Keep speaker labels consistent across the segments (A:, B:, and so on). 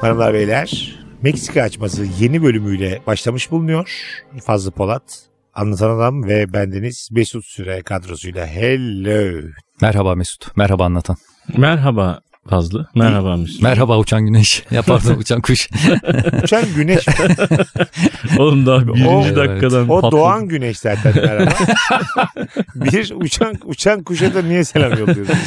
A: Hanımlar beyler Meksika açması yeni bölümüyle başlamış bulunuyor. Fazlı Polat, Anlatan Adam ve bendeniz Mesut Süre kadrosuyla hello.
B: Merhaba Mesut. Merhaba anlatan.
C: Merhaba Fazlı. Merhaba Mesut.
B: Merhaba uçan güneş. Ya pardon uçan kuş.
A: Uçan güneş,
C: Oğlum daha birinci
B: O-
C: dakikadan
A: şey, o
C: patladı.
A: doğan güneş zaten merhaba. Bir uçan uçan kuşa da niye selam yolluyorsunuz?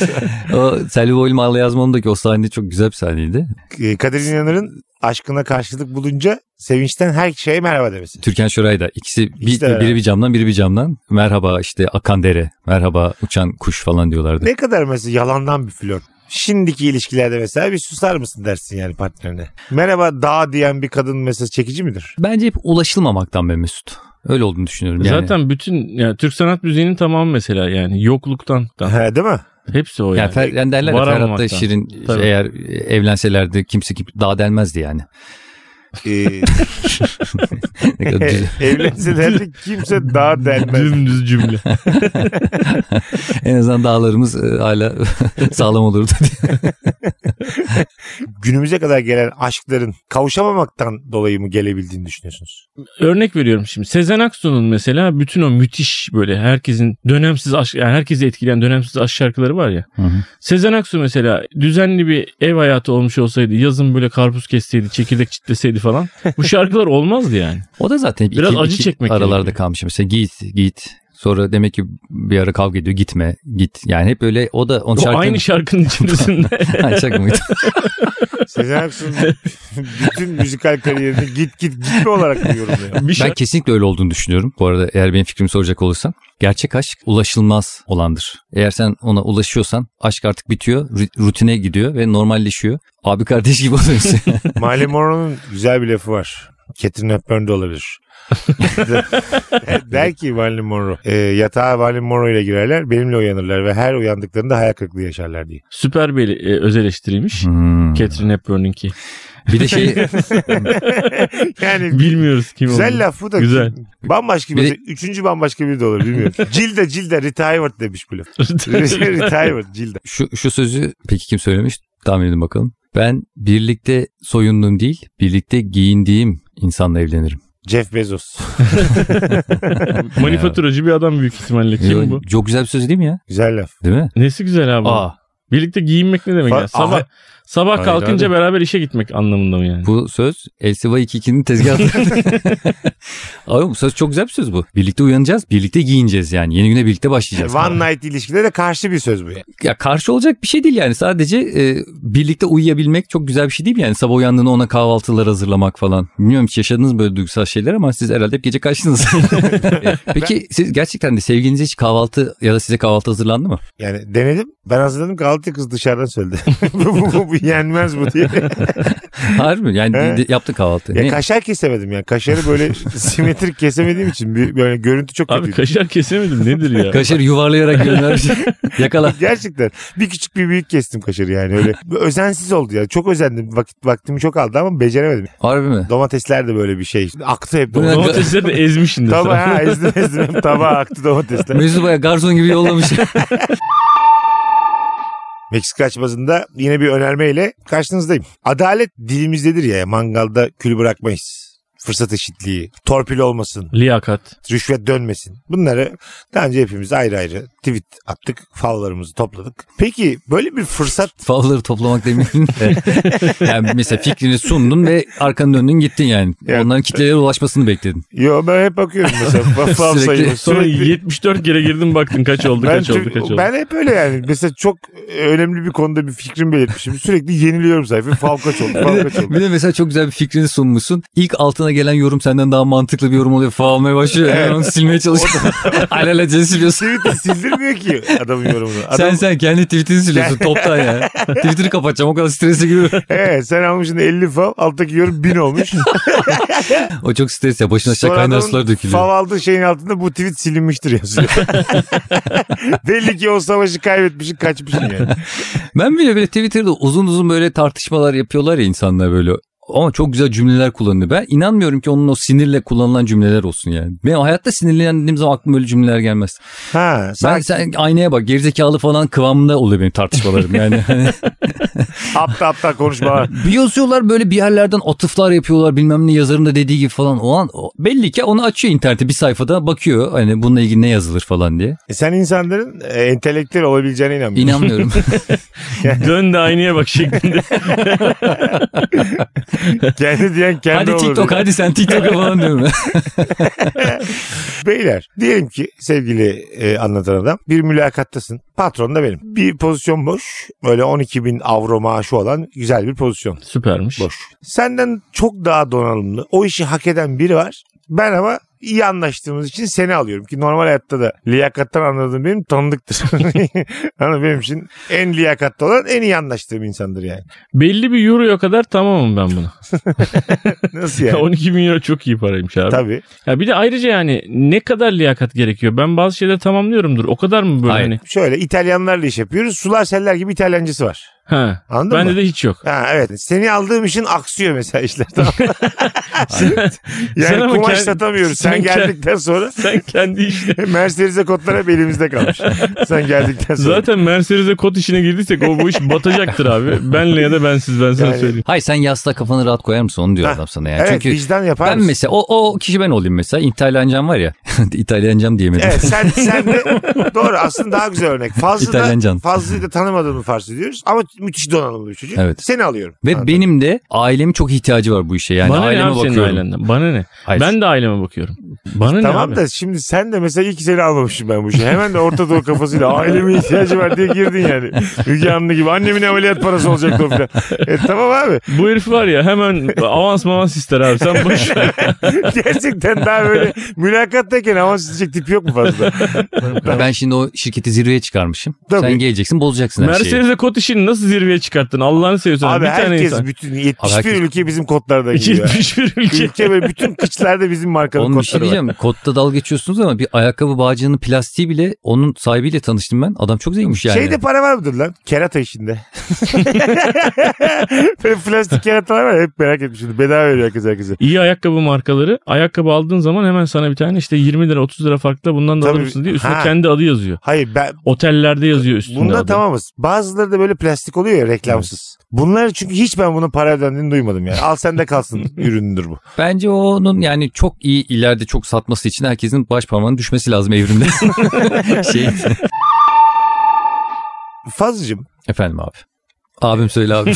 B: O Selvi Boylum Ağla Yazmam'daki o sahne çok güzel bir sahneydi.
A: Ee, Kadir İnanır'ın aşkına karşılık bulunca sevinçten her şeye merhaba demesi.
B: Türkan Şoray da ikisi bir,
A: İkisi de beraber.
B: biri bir camdan biri bir camdan. Merhaba işte akan dere. Merhaba uçan kuş falan diyorlardı.
A: Ne kadar mesela yalandan bir flört. Şimdiki ilişkilerde mesela bir susar mısın dersin yani partnerine. Merhaba dağ diyen bir kadın mesela çekici midir?
B: Bence hep ulaşılmamaktan be Mesut. Öyle olduğunu düşünüyorum. Yani,
C: Zaten bütün yani Türk sanat müziğinin tamamı mesela yani yokluktan. da.
A: He, değil mi?
C: Hepsi o
B: yani,
C: yani.
B: Fer- yani derler ya,
C: Var
B: Ferhat'la
C: olmaktan.
B: Şirin
C: Tabii.
B: eğer evlenselerdi kimse kim, daha delmezdi yani.
A: Ee,
B: Ne kadar düz-
A: evlenseler de kimse dağ denmez.
C: Dümdüz cümle.
B: en azından dağlarımız e, hala sağlam olurdu diye.
A: Günümüze kadar gelen aşkların kavuşamamaktan dolayı mı gelebildiğini düşünüyorsunuz?
C: Örnek veriyorum şimdi. Sezen Aksu'nun mesela bütün o müthiş böyle herkesin dönemsiz aşk yani herkesi etkileyen dönemsiz aşk şarkıları var ya.
B: Hı hı.
C: Sezen Aksu mesela düzenli bir ev hayatı olmuş olsaydı yazın böyle karpuz kesseydi çekirdek çitleseydi falan bu şarkılar olmazdı yani.
B: O da zaten hep
C: Biraz
B: iki,
C: acı
B: iki
C: çekmek
B: aralarda
C: gerekiyor.
B: kalmış. Mesela git git. Sonra demek ki bir ara kavga ediyor gitme git. Yani hep böyle o da onun
C: O
B: şarkının...
C: aynı şey. şarkının içerisinde.
B: Ha, şarkı mıydı?
A: Sezen Aksu'nun bütün müzikal kariyerini git git gitme olarak mı yorumluyor?
C: bir
B: ben
C: şarkı
B: kesinlikle öyle olduğunu düşünüyorum. Bu arada eğer benim fikrimi soracak olursan. Gerçek aşk ulaşılmaz olandır. Eğer sen ona ulaşıyorsan aşk artık bitiyor. ru- Rutine gidiyor ve normalleşiyor. Abi kardeş gibi oluyorsun.
A: Marilyn Monroe'nun güzel bir lafı var. Catherine Hepburn de olabilir. Der ki Marilyn Monroe. E, yatağa Marilyn Monroe ile girerler. Benimle uyanırlar ve her uyandıklarında hayal kırıklığı yaşarlar diye.
C: süper bir e, öz eleştiriymiş.
B: Hmm.
C: Catherine Hepburn'inki.
B: Bir de şey
A: Yani
C: Bilmiyoruz kim
A: güzel
C: olduğunu.
A: laf bu da.
C: Güzel.
A: Bambaşka bir,
B: Bir de-
A: Üçüncü bambaşka biri de olur bilmiyorum. Cilde cilde retired demiş bu laf. retired cilde.
B: şu, şu sözü peki kim söylemiş? Tahmin edin bakalım. Ben birlikte soyunduğum değil, birlikte giyindiğim insanla evlenirim.
A: Jeff Bezos.
C: Manifaturacı bir adam büyük ihtimalle. Kim bu?
B: Çok güzel bir söz değil mi ya?
A: Güzel laf.
B: Değil mi?
C: Nesi güzel abi?
B: Aa,
C: Birlikte giyinmek ne demek
A: Fa-
C: ya? Sabah
A: Aha.
C: sabah
B: Hayır
C: kalkınca
B: abi.
C: beraber işe gitmek anlamında mı yani?
B: bu söz Elsiva 22'nin tezgahında. Abi bu söz çok güzel bir söz bu. Birlikte uyanacağız, birlikte giyineceğiz yani. Yeni güne birlikte başlayacağız.
A: One night ilişkide de karşı bir söz bu. yani.
B: Ya karşı olacak bir şey değil yani. Sadece e, birlikte uyuyabilmek çok güzel bir şey değil mi? Yani sabah uyandığında ona kahvaltılar hazırlamak falan. Bilmiyorum hiç yaşadınız mı böyle duygusal şeyler ama siz herhalde hep gece kaçtınız. Peki siz gerçekten de sevgilinize hiç kahvaltı ya da size kahvaltı hazırlandı mı?
A: Yani denedim. Ben hazırladım Galata kız dışarıdan söyledi. bu, bu, bu, bu yenmez bu diye.
B: Harbi mi? Yani
A: He.
B: de- yaptın kahvaltı.
A: Ya
B: Ne?
A: kaşar kesemedim ya. Kaşarı böyle simetrik kesemediğim için bir, böyle görüntü çok
C: Abi
A: kötü.
C: kaşar kesemedim nedir ya?
B: Kaşarı yuvarlayarak göndermiş. Yakala.
A: Gerçekten bir küçük bir büyük kestim kaşarı yani öyle. Özensiz oldu ya. Çok özendim. Vakit vaktimi çok aldı ama beceremedim.
B: Harbi mi?
A: Domatesler de böyle bir şey. Aktı hep
B: Bu ne-
A: domates.
C: Domatesleri de ezmişsin de sen.
A: Tabağa ha, ezdim ezdim. Tabağa aktı domatesler.
B: Mesut Baya garson gibi yollamış.
A: Meksika açmasında yine bir önermeyle karşınızdayım. Adalet dilimizdedir ya mangalda kül bırakmayız. Fırsat eşitliği, torpil olmasın,
C: Liyakat.
A: rüşvet dönmesin. Bunları daha önce hepimiz ayrı ayrı tweet attık, favlarımızı topladık. Peki böyle bir fırsat
B: Favları toplamak demeyin. yani mesela fikrini sundun ve arkanı döndün gittin yani.
A: Ya.
B: Onların kitlelere ulaşmasını bekledin.
A: Yo ben hep bakıyorum mesela. Fa- Fav
B: Sürekli-
A: sayıyorum.
C: Sonra
A: Sürekli-
C: 74 kere girdim baktın kaç oldu
A: ben,
C: kaç oldu kaç oldu.
A: ben hep öyle yani. Mesela çok e, önemli bir konuda bir fikrimi belirtmişim. Sürekli yeniliyorum sayfayı. Fav kaç oldu, fav kaç oldu.
B: Bir de mesela çok güzel bir fikrini sunmuşsun. İlk altına gelen yorum senden daha mantıklı bir yorum oluyor. Fav olmaya başlıyor. Hemen onu silmeye çalışıyorsun. Alelacele siliyorsun.
A: Tweet'i sildirmiyor ki adamın yorumunu. Adam,
B: Sen
A: sen,
B: sen kendi tweetini siliyorsun toptan ya. Twitter'ı kapatacağım o kadar strese giriyor.
A: He, sen almışsın 50 fav. Alttaki yorum 1000 olmuş.
B: O çok stres ya. Başına aşağı
A: Sonra
B: kaynar
A: adamın
B: sular dökülüyor.
A: Fav aldığı şeyin altında bu tweet silinmiştir yazıyor. Belli ki o savaşı kaybetmişsin kaçmışsın yani.
B: Ben bile böyle Twitter'da uzun uzun böyle tartışmalar yapıyorlar ya insanlar böyle. ama çok güzel cümleler kullanıyor. Ben inanmıyorum ki onun o sinirle kullanılan cümleler olsun yani. Ben hayatta sinirlendiğim zaman aklıma öyle cümleler gelmez.
A: Ha,
B: Ben
A: sen
B: sen aynaya bak gerizekalı falan kıvamında oluyor benim tartışmalarım yani.
A: aptal aptal konuşmalar.
B: bir yazıyorlar böyle bir yerlerden atıflar yapıyorlar bilmem ne yazarın da dediği gibi falan. O an o- belli ki onu açıyor internete bir sayfada bakıyor hani bununla ilgili ne yazılır falan diye.
A: E, sen insanların e, entelektüel olabileceğine inanmıyorsun.
B: İnanmıyorum.
C: Dön de aynaya bak şeklinde.
A: kendi diyen kendi
B: hadi
A: olur.
B: TikTok hadi sen TikTok'a falan diyorum.
A: Beyler diyelim ki sevgili e, anlatan adam bir mülakattasın. Patron da benim. Bir pozisyon boş. Böyle 12 bin avro maaşı olan güzel bir pozisyon.
C: Süpermiş.
A: Boş. Senden çok daha donanımlı. O işi hak eden biri var. Ben ama iyi anlaştığımız için seni alıyorum. Ki normal hayatta da liyakattan anladığım benim tanıdıktır. Ama benim için en liyakatlı olan en iyi anlaştığım insandır yani.
C: Belli bir euroya kadar tamamım ben buna.
A: Nasıl yani?
C: 12 bin euro çok iyi paraymış abi.
A: Tabii.
C: Ya bir de ayrıca yani ne kadar liyakat gerekiyor? Ben bazı şeyleri tamamlıyorumdur. O kadar mı böyle
B: Hayır.
C: hani?
A: Şöyle İtalyanlarla iş yapıyoruz. Sular seller gibi İtalyancası var.
C: Ha.
A: Anladın mı?
C: Bende de hiç yok.
A: Ha evet. Seni aldığım için aksıyor mesela işler. Tamam. yani
C: Sen ama
A: kumaş
C: kend-
A: satamıyoruz. Sen,
C: sen kend-
A: geldikten sonra
C: Sen kendi işte.
A: Mercedes'e kotlar hep elimizde kalmış. sen geldikten sonra.
C: Zaten Mercedes'e kod işine girdiysek o bu iş batacaktır abi. Benle ya da bensiz ben sana
A: Yani-
C: söyleyeyim.
B: Hayır sen yastığa kafanı rahat koyar mısın onu diyor
A: Heh.
B: adam sana yani.
A: evet
B: Çünkü
A: vicdan yapar
B: ben
A: mısın?
B: mesela o, o kişi ben olayım mesela İtalyancam var ya. İtalyancam diyemedim.
A: Evet sen, sen de doğru aslında daha güzel örnek. Fazlı da,
B: İtalyancan.
A: Fazlı'yı da tanımadığımı farz ediyoruz ama müthiş donanımlı bir çocuk.
B: Evet.
A: Seni alıyorum.
B: Ve
A: Anladın.
B: benim de ailemin çok ihtiyacı var bu işe yani
C: Bana ne
B: aileme
C: abi senin
B: bakıyorum.
C: ailenden? Bana ne?
B: Hayır.
C: Ben de aileme bakıyorum. Bana ne
A: Tamam
C: abi?
A: da şimdi sen de mesela iyi ki seni almamışım ben bu işe. Hemen de Orta Doğu kafasıyla aileme ihtiyacı var diye girdin yani. Müge Anlı gibi annemin ameliyat parası olacaktı o filan. E, tamam abi.
C: Bu herif var ya hemen avans mavans ister abi. Sen boş ver.
A: Gerçekten daha böyle mülakattayken ama sizecek tip yok mu fazla?
B: Ben şimdi o şirketi zirveye çıkarmışım.
A: Tabii.
B: Sen geleceksin bozacaksın her şeyi.
C: Mercedes'e kod işini nasıl zirveye çıkarttın? Allah'ını seviyorsun.
A: şey. Abi
C: bir tane
A: herkes
C: insan.
A: bütün 71
B: Abi herkes-
A: ülke bizim kodlardan giriyor.
C: 71 ülke.
A: ülke ve bütün kıçlarda bizim markalı
B: Onun bir şey
A: kodları var.
B: diyeceğim. Kodda dalga geçiyorsunuz ama bir ayakkabı bağcığının plastiği bile onun sahibiyle tanıştım ben. Adam çok zenginmiş yani.
A: Şeyde para var mıdır lan? Kerata işinde. Böyle plastik keratalar var ya, hep merak etmişim. Bedava veriyor herkes herkese.
C: İyi ayakkabı markaları ayakkabı aldığın zaman hemen sana bir tane işte 20 lira 30 lira farkla bundan da
A: Tabii.
C: alır mısın diye üstüne
A: Ha.
C: kendi adı yazıyor.
A: Hayır ben
C: Otellerde yazıyor üstünde
A: bunda
C: adı.
A: tamamız. Bazıları da böyle plastik oluyor ya reklamsız. Bunlar çünkü hiç ben bunun para ödendiğini duymadım yani. Al sende kalsın ürünüdür bu.
B: Bence onun yani çok iyi ileride çok satması için herkesin baş parmağının düşmesi lazım evrimde. şey
A: Fazlıcığım
B: efendim abi. Abim söyle abi.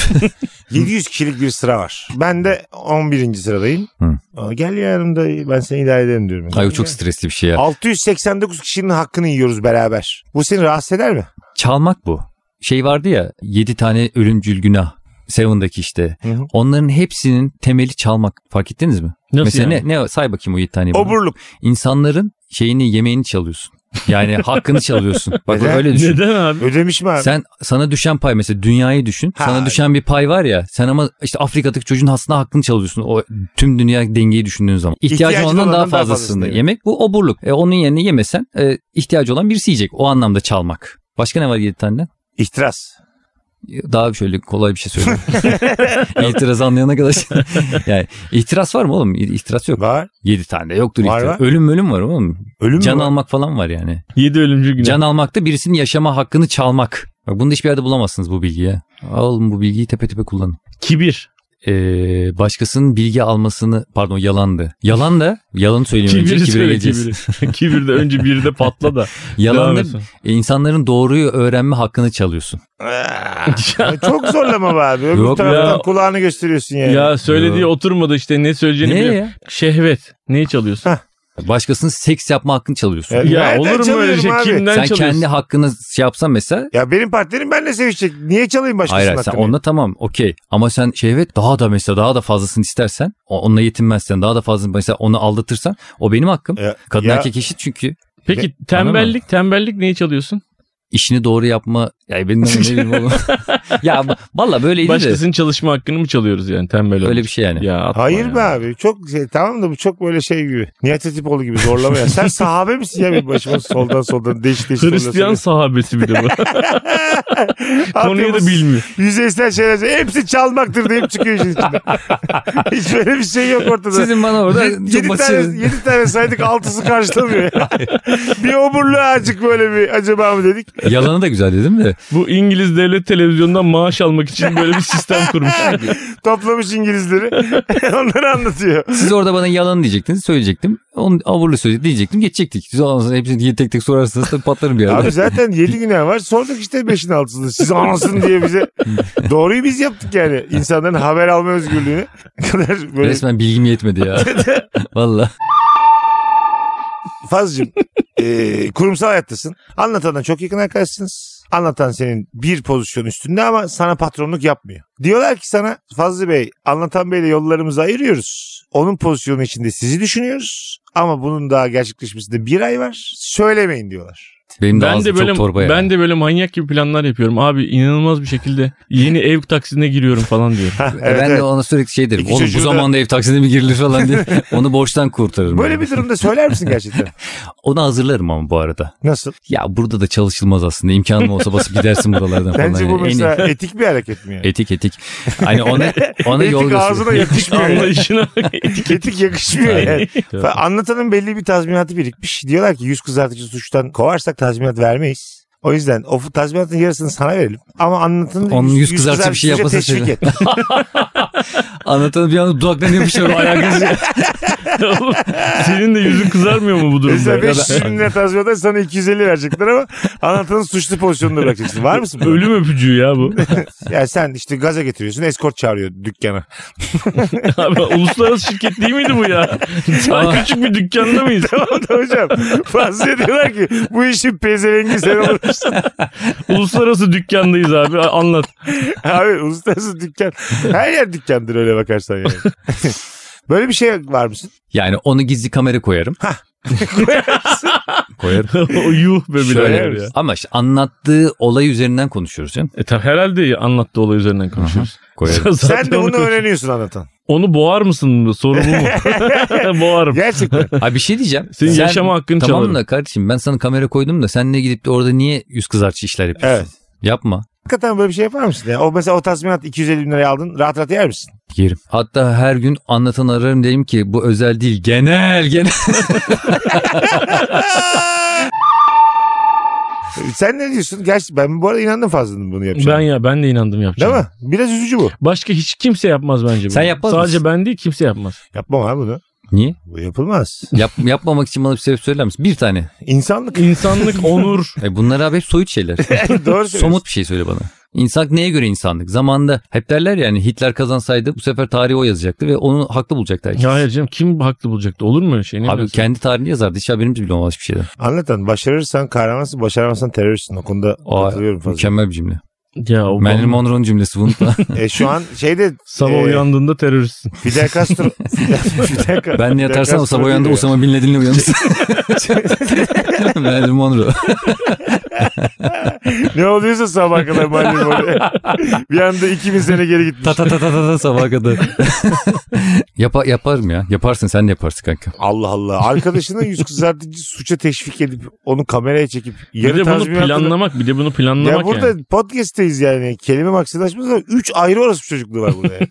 A: 700 kişilik bir sıra var. Ben de 11. sıradayım.
B: Hı.
A: Aa, Gel yanımda ben seni idare ederim diyorum.
B: Ay o çok stresli bir şey ya.
A: 689 kişinin hakkını yiyoruz beraber. Bu seni rahatsız eder mi?
B: Çalmak bu. Şey vardı ya 7 tane ölümcül günah. Seven'daki işte.
A: Hı hı.
B: Onların hepsinin temeli çalmak. Fark ettiniz mi?
C: Nasıl
B: Mesela
C: yani?
B: ne, ne say bakayım o 7 taneyi. bana.
A: Oburluk.
B: İnsanların şeyini yemeğini çalıyorsun. Yani hakkını çalıyorsun. Bak
A: Neden?
B: öyle düşün.
C: Neden abi?
A: Ödemiş mi abi?
B: Sen sana düşen pay mesela dünyayı düşün.
A: Ha.
B: Sana düşen bir pay var ya. Sen ama işte Afrika'daki çocuğun aslında hakkını çalıyorsun. O tüm dünya dengeyi düşündüğün zaman. İhtiyacın
A: İhtiyacın
B: ondan daha
A: olandan daha
B: fazlasını
A: fazlasını
B: yemek bu oburluk. E, onun yerine yemesen e, ihtiyacı olan birisi yiyecek. O anlamda çalmak. Başka ne var yedi tane?
A: İhtiras.
B: Daha şöyle kolay bir şey söyleyeyim. İtiraz anlayana kadar. şey- yani itiraz var mı oğlum? İtiraz yok.
A: Var.
B: Yedi tane de yoktur
A: Var,
B: itiraz.
A: var.
B: Ölüm ölüm var oğlum.
A: Ölüm
B: Can
A: mü? var?
B: almak falan var yani.
C: 7 ölümcül günah.
B: Can almak da birisinin yaşama hakkını çalmak. Bak bunu da hiçbir yerde bulamazsınız bu bilgiyi. Alın bu bilgiyi tepe tepe kullanın.
C: Kibir.
B: Ee, başkasının bilgi almasını pardon yalandı. Yalan da yalanı söyleyeyim önce
C: Kibiri
B: kibire
C: söyle
B: geleceğiz.
C: kibiri. Kibir de önce bir de patla da.
B: Yalan
C: Devam
B: da
C: etsin.
B: e, insanların doğruyu öğrenme hakkını çalıyorsun.
A: Aa, Ee, çok zorlama be abi. Öbür
B: Yok
A: taraftan
C: ya.
A: kulağını gösteriyorsun yani.
C: Ya söylediği oturmadı işte ne söyleyeceğini
B: Ne
C: bilmiyorum.
B: ya?
C: Şehvet. Neyi çalıyorsun?
B: Başkasının seks yapma hakkını çalıyorsun.
A: Ya,
C: ya
A: nereden
C: olur mu öyle
A: çalıyorum
C: şey?
A: abi?
C: Kimden
B: sen
C: çalıyorsun?
B: kendi hakkını şey yapsan mesela
A: Ya benim partnerim benimle sevişecek. Niye çalayım başkasının
B: Hayır hayır, sen
A: hakkını?
B: onunla tamam okey ama sen şehvet daha da mesela daha da fazlasını istersen o- onunla yetinmezsen daha da fazla mesela onu aldatırsan o benim hakkım.
A: Ya-
B: Kadın
A: E, ya-
B: erkek eşit çünkü
C: Peki tembellik tembellik neyi çalıyorsun?
B: işini doğru yapma Ya benim ne bileyim oğlum. ya valla böyleydi de.
C: Başkasının çalışma hakkını mı çalıyoruz yani tembel olmuş.
B: Öyle bir şey yani.
C: Ya atma
A: Hayır
C: ya.
A: be abi. Çok şey, tamam da bu çok böyle şey gibi. Nihat Etipoğlu gibi zorlama ya. Sen sahabe misin ya benim başıma soldan soldan değiş değiş
C: Hristiyan
A: soruyorsun.
C: sahabesi bir de bu. Konuyu da
A: Altyapısı-
C: bilmiyor.
A: Yüzeysel şeyler. Hepsi çalmaktır deyip çıkıyor işin içinde. Hiç böyle bir şey yok ortada.
B: Sizin bana orada
A: Yedi-
B: çok
A: yedi tane,
B: basit.
A: yedi tane saydık altısı karşılamıyor. bir oburluğa azıcık böyle bir acaba mı dedik.
B: Yalanı da güzel dedim de.
C: Bu İngiliz devlet televizyonundan maaş almak için böyle bir sistem kurmuş.
A: Toplamış İngilizleri. Onları anlatıyor.
B: Siz orada bana yalan diyecektiniz söyleyecektim. Onu avurlu söyleyecektim diyecektim geçecektik. Siz ondan sonra hepsini tek tek sorarsanız tabii patlarım bir yerde.
A: Abi zaten 7 günah var. Sorduk işte 5'in 6'sını. Siz anasın diye bize. Doğruyu biz yaptık yani. İnsanların haber alma özgürlüğünü. Ne kadar böyle
B: Resmen bilgim yetmedi ya. Valla.
A: Fazlıcığım e, kurumsal hayattasın. Anlatandan çok yakın arkadaşsınız. Anlatan senin bir pozisyon üstünde ama sana patronluk yapmıyor. Diyorlar ki sana Fazlı Bey anlatan beyle yollarımızı ayırıyoruz. Onun pozisyonu içinde sizi düşünüyoruz. Ama bunun daha gerçekleşmesinde bir ay var. Söylemeyin diyorlar.
B: Benim de
C: ben
B: ağzım
C: de böyle
B: çok torba ya.
C: ben de böyle manyak gibi planlar yapıyorum. Abi inanılmaz bir şekilde yeni ev taksidine giriyorum falan diyorum.
A: Ha,
B: E,
A: evet,
B: ben
A: evet.
B: de ona sürekli şey derim.
A: İki
B: Oğlum
A: çocuğu
B: bu
A: da-
B: zamanda ev taksidi mi girilir falan diye. Onu borçtan kurtarırım.
A: Böyle
B: yani.
A: bir durumda söyler misin gerçekten?
B: Onu hazırlarım ama bu arada.
A: Nasıl?
B: Ya burada da çalışılmaz aslında. İmkanım olsa basıp gidersin buralardan falan.
A: Bence bu
B: yani. En-
A: mesela etik bir hareket mi yani?
B: Etik etik. Hani ona, ona
A: Etik
B: yol göster-
A: ağzına yakışmıyor. yani.
C: Anlayışına
A: Etik yakışmıyor
B: Aynen.
A: yani. Fa- Anlatanın belli bir tazminatı birikmiş. Diyorlar ki yüz kızartıcı suçtan kovarsak tazminat vermeyiz. O yüzden o fu- tazminatın yarısını sana verelim. Ama anlatanın
B: Onun yüz kızartıcı bir şey
A: kızartıcıya
B: yapması
A: teşvik et.
B: Anlatanı bir anda dudaklarına yapışıyor. Ayakları
C: Oğlum, Senin de yüzün kızarmıyor mu bu
A: Mesela
C: durumda?
A: 500 bin lira tazminattan sana 250 verecekler ama anlatanın suçlu pozisyonunda bırakacaksın. Var mısın? buna?
C: Ölüm öpücüğü ya bu.
A: Yani sen işte gaza getiriyorsun. Eskort çağırıyor dükkana.
C: Abi uluslararası şirket değil miydi bu ya? Daha
B: Aa.
C: küçük bir dükkanda mıyız?
A: tamam da hocam. Fazla diyorlar ki bu işin pezevengi sen olursun.
C: uluslararası dükkandayız abi anlat.
A: Abi uluslararası dükkan. Her yer dükkandır öyle bakarsan yani. Böyle bir şey var mısın?
B: Yani onu gizli kamera koyarım. koyarım.
C: o yuh be
A: şey
B: Şöyle
C: birader ya.
B: Ama işte anlattığı olay üzerinden konuşuyoruz canım.
C: E tabi herhalde anlattı olay üzerinden konuşuyoruz.
B: Koyarım.
C: Zaten
A: Sen de
C: onu,
A: bunu öğreniyorsun anlatan.
C: onu boğar mısın? Soru bu mu? Boğarım.
A: Gerçekten.
B: Ha bir şey diyeceğim.
C: Senin yaşama hakkını
B: tamam
C: çalarım.
B: da kardeşim ben sana kamera koydum da sen ne gidip de orada niye yüz kızartıcı işler yapıyorsun?
A: Evet.
B: Yapma.
A: Hakikaten böyle bir şey yapar mısın? Yani o mesela o tazminat 250 bin liraya aldın rahat rahat yer misin?
B: Yerim. Hatta her gün anlatan ararım dedim ki bu özel değil genel genel.
A: Sen ne diyorsun? Gerçi ben bu arada inandım fazlanın bunu yapacağını.
C: Ben ya ben de inandım
A: Değil
C: yapacağım.
A: mi? Biraz üzücü bu.
C: Başka hiç kimse yapmaz bence bunu.
B: Sen yapmaz
C: Sadece
B: mısın?
C: ben değil kimse yapmaz.
A: Yapmam abi bunu.
B: niye?
A: Bu yapılmaz.
B: Yap, yapmamak için bana bir sebep söyler misin? Bir tane.
A: İnsanlık.
C: İnsanlık, onur.
B: E bunlar abi hep soyut şeyler.
A: Doğru söylüyorsun.
B: Somut bir şey söyle bana. İnsanlık neye göre insanlık? Zamanda hep derler yani Hitler kazansaydı bu sefer tarihi o yazacaktı ve onu haklı bulacaktı herkes.
C: Ya hayır canım kim haklı bulacaktı? Olur mu öyle şey? Ne
B: Abi
C: diyorsun?
B: kendi tarihini yazardı. Hiç haberimiz bile olmaz bir şeyden.
A: Anlatan başarırsan kahramansın, başaramazsan teröristsin. O konuda
B: Aa,
A: katılıyorum fazla.
B: Mükemmel bir cümle.
C: Ya o
B: Marilyn Monroe'nun cümlesi bunu.
A: E, şu an şeyde
C: Sabah
A: e,
C: uyandığında teröristsin.
A: Fidel Castro. Fidel, Fidel Ca-
B: ben de
A: Fidel
B: yatarsam o
A: Castro
B: sabah uyandı
A: diyor.
B: Osama Bin Laden'le uyanırsın. Marilyn Monroe.
A: Ne oluyorsa sabah kadar malum oraya. bir anda 2000 sene geri gitmiş.
B: Ta ta ta ta ta ta sabaha kadar. Yapa, yaparım ya. Yaparsın sen de yaparsın kanka.
A: Allah Allah. Arkadaşını yüz kızartıcı suça teşvik edip onu kameraya çekip
C: Bir
A: yarı
C: de bunu
A: tazminatını-
C: planlamak, bir de bunu planlamak
A: Ya burada
C: yani.
A: podcast'teyiz yani. Kelime maksimlaşmaz ama 3 ayrı orası çocukluğu var burada yani.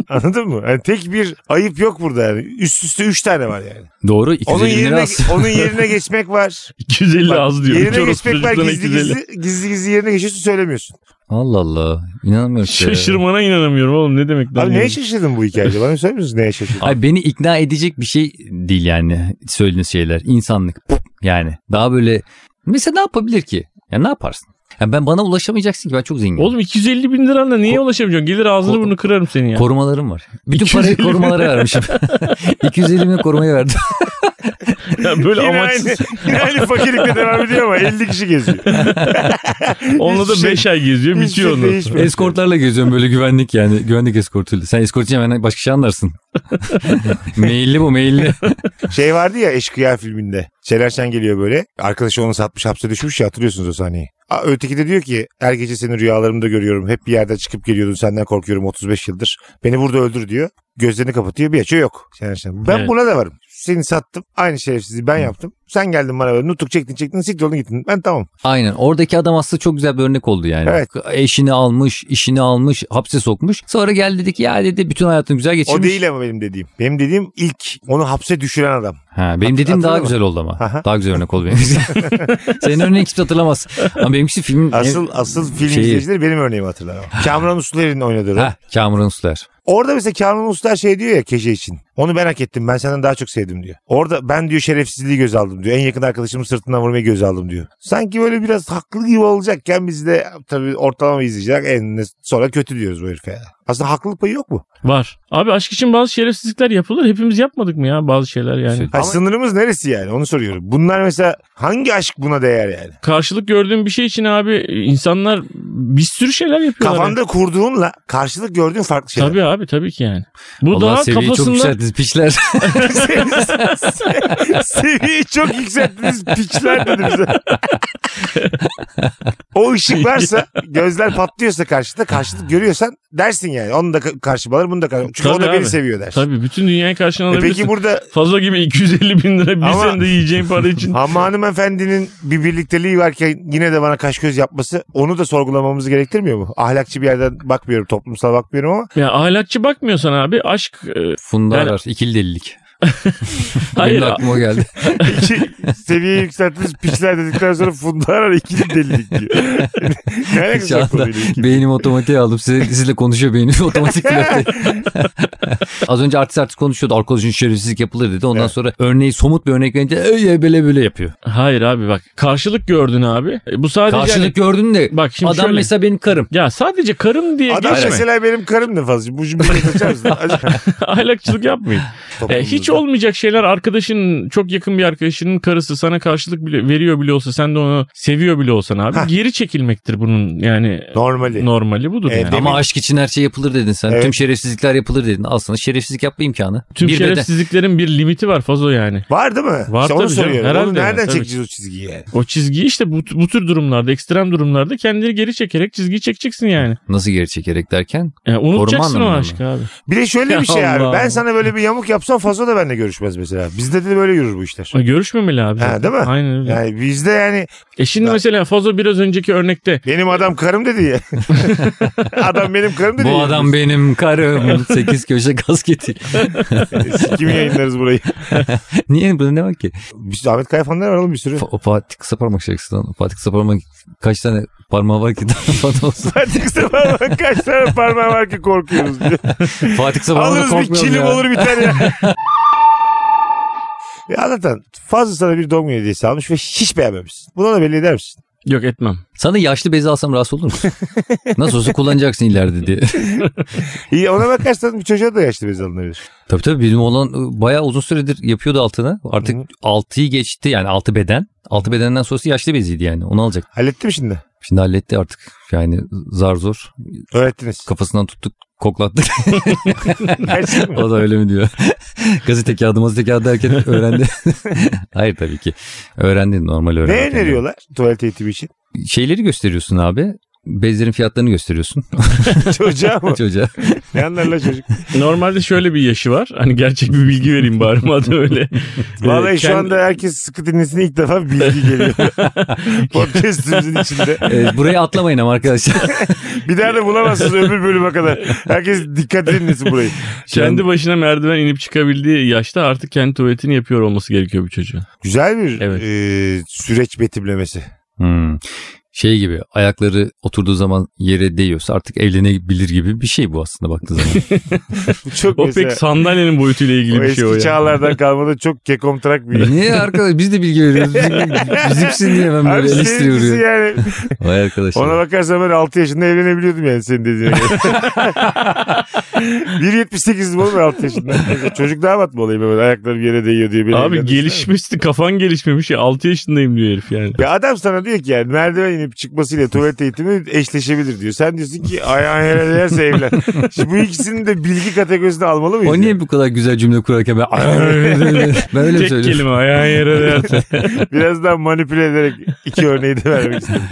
A: Anladın mı? Yani tek bir ayıp yok burada yani. Üst üste 3 tane var yani.
B: Doğru.
A: Onun
B: 250 lira
A: yerine
B: az.
A: onun yerine geçmek var.
C: 250
A: Bak,
C: az diyor.
A: Yerine
C: Çoros
A: geçmek var.
C: çocuklarına
A: Gizli
C: 250.
A: gizli, gizli gizli yerine geçiyorsun söylemiyorsun.
B: Allah Allah. İnanamıyorum. ki ya.
C: Şaşırmana inanamıyorum oğlum ne demek. lan
A: Abi neye
C: yani?
A: şaşırdın bu hikayede? Bana söyler misin neye şaşırdın?
B: Ay beni ikna edecek bir şey değil yani söylediğiniz şeyler. İnsanlık yani. Daha böyle mesela ne yapabilir ki? Ya ne yaparsın? Ya ben bana ulaşamayacaksın ki ben çok zenginim.
C: Oğlum 250 bin liranla niye ulaşamayacaksın? Gelir ağzını
B: Ko-
C: burnunu kırarım seni ya.
B: Korumalarım var. Bütün parayı
C: 250 bin.
B: korumalara vermişim. 250 bin korumaya verdim.
C: Ya böyle
A: Yine
C: amaçsız.
A: aynı, yine aynı fakirlikle devam ediyor ama 50 kişi geziyor.
C: Onunla da
A: Hiçbir şey-
C: 5 ay geziyor
A: hiçbir şey
C: bitiyor ondan sonra.
A: değişmiyor.
B: Eskortlarla geziyorum böyle güvenlik yani. Güvenlik eskortuyla. Sen eskortçu hemen başka şey anlarsın. meyilli bu meyilli.
A: Şey vardı ya Eşkıya filminde. Şener Şen geliyor böyle. Arkadaşı onu satmış hapse düşmüş ya hatırlıyorsunuz o sahneyi. A- Öteki de diyor ki her gece seni rüyalarımda görüyorum. Hep bir yerden çıkıp geliyordun senden korkuyorum 35 yıldır. Beni burada öldür diyor. Gözlerini kapatıyor bir açıyor yok. Şener Şen. Ben
C: Evet.
A: buna da varım. Seni sattım. Aynı şerefsizliği ben yaptım. Sen geldin bana böyle nutuk çektin çektin siktir oldun gittin. Ben tamam.
B: Aynen oradaki adam aslında çok güzel bir örnek oldu yani.
A: Evet.
B: Eşini almış, işini almış, hapse sokmuş. Sonra geldi dedi ki ya dedi bütün hayatını güzel geçirmiş.
A: O değil ama benim dediğim. Benim dediğim ilk onu hapse düşüren adam.
B: Ha, benim dediğim daha
A: hatırlıyor
B: güzel oldu ama.
A: Aha.
B: Daha güzel örnek oldu benim. Senin örneğini kimse hatırlamaz. Ama benimkisi film...
A: Asıl asıl film
B: Şeyi-
A: izleyicileri benim örneğimi hatırlar ama. Kamran Usluer'in oynadığı rol.
B: Ha, Kamuran Usler.
A: Orada mesela Kanan Usta şey diyor ya Keşe için. Onu ben hak ettim. Ben senden daha çok sevdim diyor. Orada ben diyor şerefsizliği göz aldım diyor. En yakın arkadaşımın sırtından vurmayı göz aldım diyor. Sanki böyle biraz haklı gibi olacakken biz de tabii ortalama izleyiciler en sonra kötü diyoruz bu herife. ya. Aslında haklılık payı yok mu?
C: Var. Abi aşk için bazı şerefsizlikler yapılır. Hepimiz yapmadık mı ya bazı şeyler yani?
B: Şey-
A: Ha,
B: Ama-
A: Sınırımız neresi yani onu soruyorum. Bunlar mesela hangi aşk buna değer yani?
C: Karşılık gördüğüm bir şey için abi insanlar bir sürü şeyler yapıyorlar.
A: Kafanda şey. kurduğunla karşılık gördüğün farklı şeyler.
C: Tabii abi tabii ki yani. Bu
B: Allah
C: daha
B: seviyeyi çok
C: kafasında
B: yükselttiniz piçler.
A: Seviyeyi çok yükselttiniz. Piçler dedi bize. o ışık varsa gözler patlıyorsa karşıda karşılık görüyorsan dersin yani. Onu da ka- karşıma alır bunu da karşıma. Çünkü o
C: Tabii
A: da beni
C: abi.
A: seviyor dersin.
C: tabii bütün dünyayı karşına
A: E
C: alabilirsin.
A: peki burada
C: Fazla gibi 250 bin lira bir
A: Ama-
C: senede yiyeceğin para için.
A: ama hanımefendinin bir birlikteliği varken yine de bana kaş göz yapması onu da sorgulamamızı gerektirmiyor mu? Ahlakçı bir yerden bakmıyorum toplumsal bakmıyorum ama
C: ya ahlakçı bakmıyorsan abi aşk e,
B: Funda
C: Yani-
B: arar. İkili delilik.
C: Hayır.
B: Benim de aklıma o geldi.
A: iki seviyeyi yükselttiniz piçler dedikten sonra Funda Arar ikili delilik diyor. ne alakası
B: Şu
A: var
B: anda
A: konuyla ikili?
B: beynim otomatiğe aldım. Size, sizle konuşuyor beynim otomatik pilot. Az önce artist artist konuşuyordu. Alkolojinin şerefsizlik yapılır dedi. Ondan
A: Evet.
B: sonra örneği somut bir örnek verince öyle böyle böyle yapıyor.
C: Hayır abi bak karşılık gördün abi. E, Bu sadece
B: Karşılık
C: hani-
B: gördün de
C: bak şimdi
B: adam
C: şöyle.
B: mesela benim karım.
C: Ya sadece karım diye
A: Adam
C: geçme.
A: mesela benim karım ne fazla. Bu cümleyi kaçar mısın? Acaba-
C: Ahlakçılık yapmayın. E, hiç olmayacak şeyler arkadaşın çok yakın bir arkadaşının karısı sana karşılık bile, veriyor bile olsa sen de onu seviyor bile olsan abi
A: Hah.
C: geri çekilmektir bunun yani
A: Normali.
C: normali budur
A: E,
C: yani.
A: de-
B: Ama
A: Demin-
B: aşk için her şey yapılır dedin sen.
A: Evet.
B: Tüm şerefsizlikler yapılır dedin. Aslında şerefsizlik yapma imkanı.
C: Tüm
B: bir de de
C: şerefsizliklerin bir limiti var fazo yani.
A: Var değil mi?
C: Var
A: İşte onu
C: tabii canım,
A: soruyorum.
C: herhalde
A: Onu nereden
C: yani, tabii.
A: çekeceğiz o çizgiyi yani?
C: O çizgi işte bu, bu tür durumlarda ekstrem durumlarda kendini geri çekerek çizgiyi çekeceksin yani.
B: nasıl geri çekerek derken
C: yani unutacaksın o
B: anlamında mı?
C: aşkı abi.
A: Bir de şöyle bir şey abi.
C: Allah
A: Ben
C: Allah.
A: sana böyle bir yamuk yapsam fazla da benimle görüşmez mesela. Bizde de böyle yürür bu işler.
C: Ha, E, Görüşmemeli abi.
A: Ha, değil mi?
C: Aynen öyle.
A: Yani bizde yani
C: E şimdi
A: Ben-
C: mesela Fazo biraz önceki örnekte
A: benim adam karım dedi ya. adam benim karım dedi
B: bu
A: ya.
B: adam benim karım. Sekiz köşe kasketi.
A: Kimi yayınlarız burayı?
B: Niye burada ne var ki?
A: Biz Ahmet Kayfanlar var oğlum bir sürü.
B: Fa- O Fatih kısa parmak şarkısı lan. O Fatih kısa parmak kaç tane parmağı var ki Fatih olsun.
A: Fatih Kısa parmak kaç tane parmağı var ki korkuyoruz diyor.
B: Fatih kısa parmağı
A: Alırız bir
B: korkmuyorum
A: kilim
B: ya.
A: olur biter ya. ya anlatan fazla sana bir doğum günü hediyesi almış ve hiç beğenmemişsin. Buna da belli eder misin?
C: yok etmem.
B: Sana yaşlı bezi alsam rahatsız olur musun? Nasıl olsa kullanacaksın ileride diye.
A: İyi, ona bakarsan bir çocuğa da yaşlı bez alınabilir.
B: tabii tabii bizim olan bayağı uzun süredir yapıyordu altını. Artık
A: Hı.
B: 6'yı geçti yani 6 beden. 6 bedenden sonrası yaşlı beziydi yani onu alacak.
A: Hallettim şimdi.
B: Şimdi halletti artık yani zar zor
A: Öğrettiniz.
B: kafasından tuttuk koklattık.
A: Gerçek mi?
B: o da öyle mi diyor. Gazete kağıdı mazete kağıdı derken öğrendi. Hayır tabii ki. Öğrendi normal öğrendi.
A: ne öneriyorlar tuvalet eğitimi için?
B: Şeyleri gösteriyorsun abi. Bezlerin fiyatlarını gösteriyorsun
A: Çocuğa mı?
B: çocuğa.
A: ne anlarlar çocuk?
C: Normalde şöyle bir yaşı var. Hani gerçek bir bilgi vereyim bari madem öyle. E,
A: Vallahi şu
C: Ee, Kendi-
A: anda herkes sıkı dinlesin ilk defa bilgi geliyor. Podcast'imizin içinde.
B: Evet, burayı Ee, atlamayın ama arkadaşlar.
A: Bir daha da bulamazsınız öbür bölüme kadar. Herkes dikkat dinlesin burayı.
C: kendi başına merdiven inip çıkabildiği yaşta artık kendi tuvaletini yapıyor olması gerekiyor bu çocuğun.
A: Güzel bir
C: Evet.
A: e, süreç betimlemesi.
B: Hmm. Şey gibi ayakları oturduğu zaman yere değiyorsa artık evlenebilir gibi bir şey bu aslında baktığın zaman.
A: Bu Çok
C: O
A: mesela-
C: pek sandalyenin boyutuyla ilgili
A: o
C: bir
A: eski
C: şey o ya.
A: çağlardan kalmadı çok kekomtrak bir
B: Niye arkadaş biz de bilgi veriyoruz. Biz- Bizimsin diye hemen
A: Abi
B: böyle eleştiri
A: seninkisi
B: vuruyor.
A: yani
B: Vay arkadaşlar.
A: ona bakarsan ben 6 yaşında evlenebiliyordum yani senin dediğine göre. 1.78'im oğlum ben 6 yaşında. Çocuk damat mı olayım hemen ayaklarım yere değiyor diye. beni
C: Abi
A: evlendirsene.
C: gelişmişti kafan gelişmemiş ya 6 yaşındayım diyor herif yani.
A: Ya adam sana diyor ki yani merdiven inip giyinip çıkmasıyla tuvalet eğitimi eşleşebilir diyor. Sen diyorsun ki ayağın yere değerse evlen. Şimdi bu ikisini de bilgi kategorisine almalı mıyız?
B: O niye bu kadar güzel cümle kurarken ben ben öyle mi
C: Tek
B: söylüyorum?
C: kelime ayağın yere değerse.
A: Biraz daha manipüle ederek iki örneği de vermek istedim.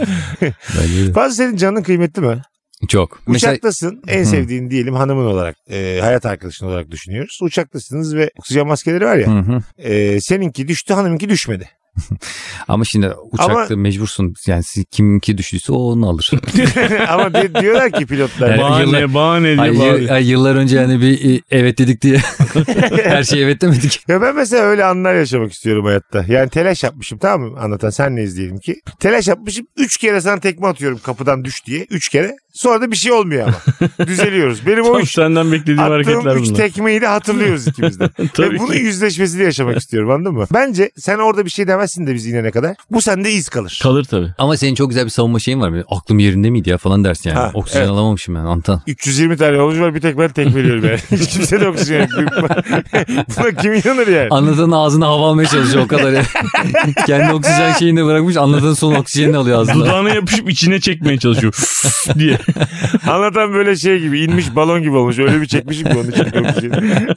B: Bence de.
A: Fazla senin canın kıymetli mi?
B: Çok. Mesela
A: Uçaktasın en sevdiğin diyelim hanımın olarak e, hayat arkadaşın olarak düşünüyoruz. Uçaktasınız ve oksijen maskeleri var
B: Hı
A: ya.
B: hı.
A: E, seninki düştü hanımınki düşmedi.
B: Ama şimdi uçakta mecbursun yani siz kiminki düştüyse o onu alır.
A: Ama di- diyorlar ki pilotlar.
B: Yani
C: bahane
B: yıllar-
C: bahane diye
B: Ay,
C: bağırıyor.
B: yı- ay, yıllar önce yani bir e, evet dedik diye her şeyi evet demedik.
A: Ya ben mesela öyle anlar yaşamak istiyorum hayatta. Yani telaş yapmışım tamam mı anlatan sen neyiz diyelim ki. Telaş yapmışım 3 kere sana tekme atıyorum kapıdan düş diye 3 kere. Sonra da bir şey olmuyor ama. Düzeliyoruz. Benim o
C: Tam
A: 3
C: senden beklediğim hareketler
A: attığım 3
C: bunlar.
A: tekmeyi de hatırlıyoruz ikimiz de.
C: Tabii
A: Ve bunun
C: ki.
A: yüzleşmesini yaşamak istiyorum anladın mı? Bence sen orada bir şey demezsin de biz inene kadar. Bu sende iz kalır.
C: Kalır tabii.
B: Ama senin çok güzel bir savunma şeyin var. Böyle, Aklım yerinde miydi ya falan dersin yani.
A: Ha,
B: Oksijen
A: evet.
B: alamamışım ben Antan.
A: 320 tane yolcu var bir tek ben tek veriyorum yani. Hiç kimse de oksijen yok. Buna kim inanır yani?
B: Anlatan ağzını hava almaya çalışıyor o kadar. ya. Kendi oksijen şeyini bırakmış anlatan son oksijenini alıyor ağzına.
C: Dudağına yapışıp içine çekmeye çalışıyor. diye.
A: Anlatan böyle şey gibi inmiş balon gibi olmuş. Öyle bir çekmişim ki onun için çok güzel.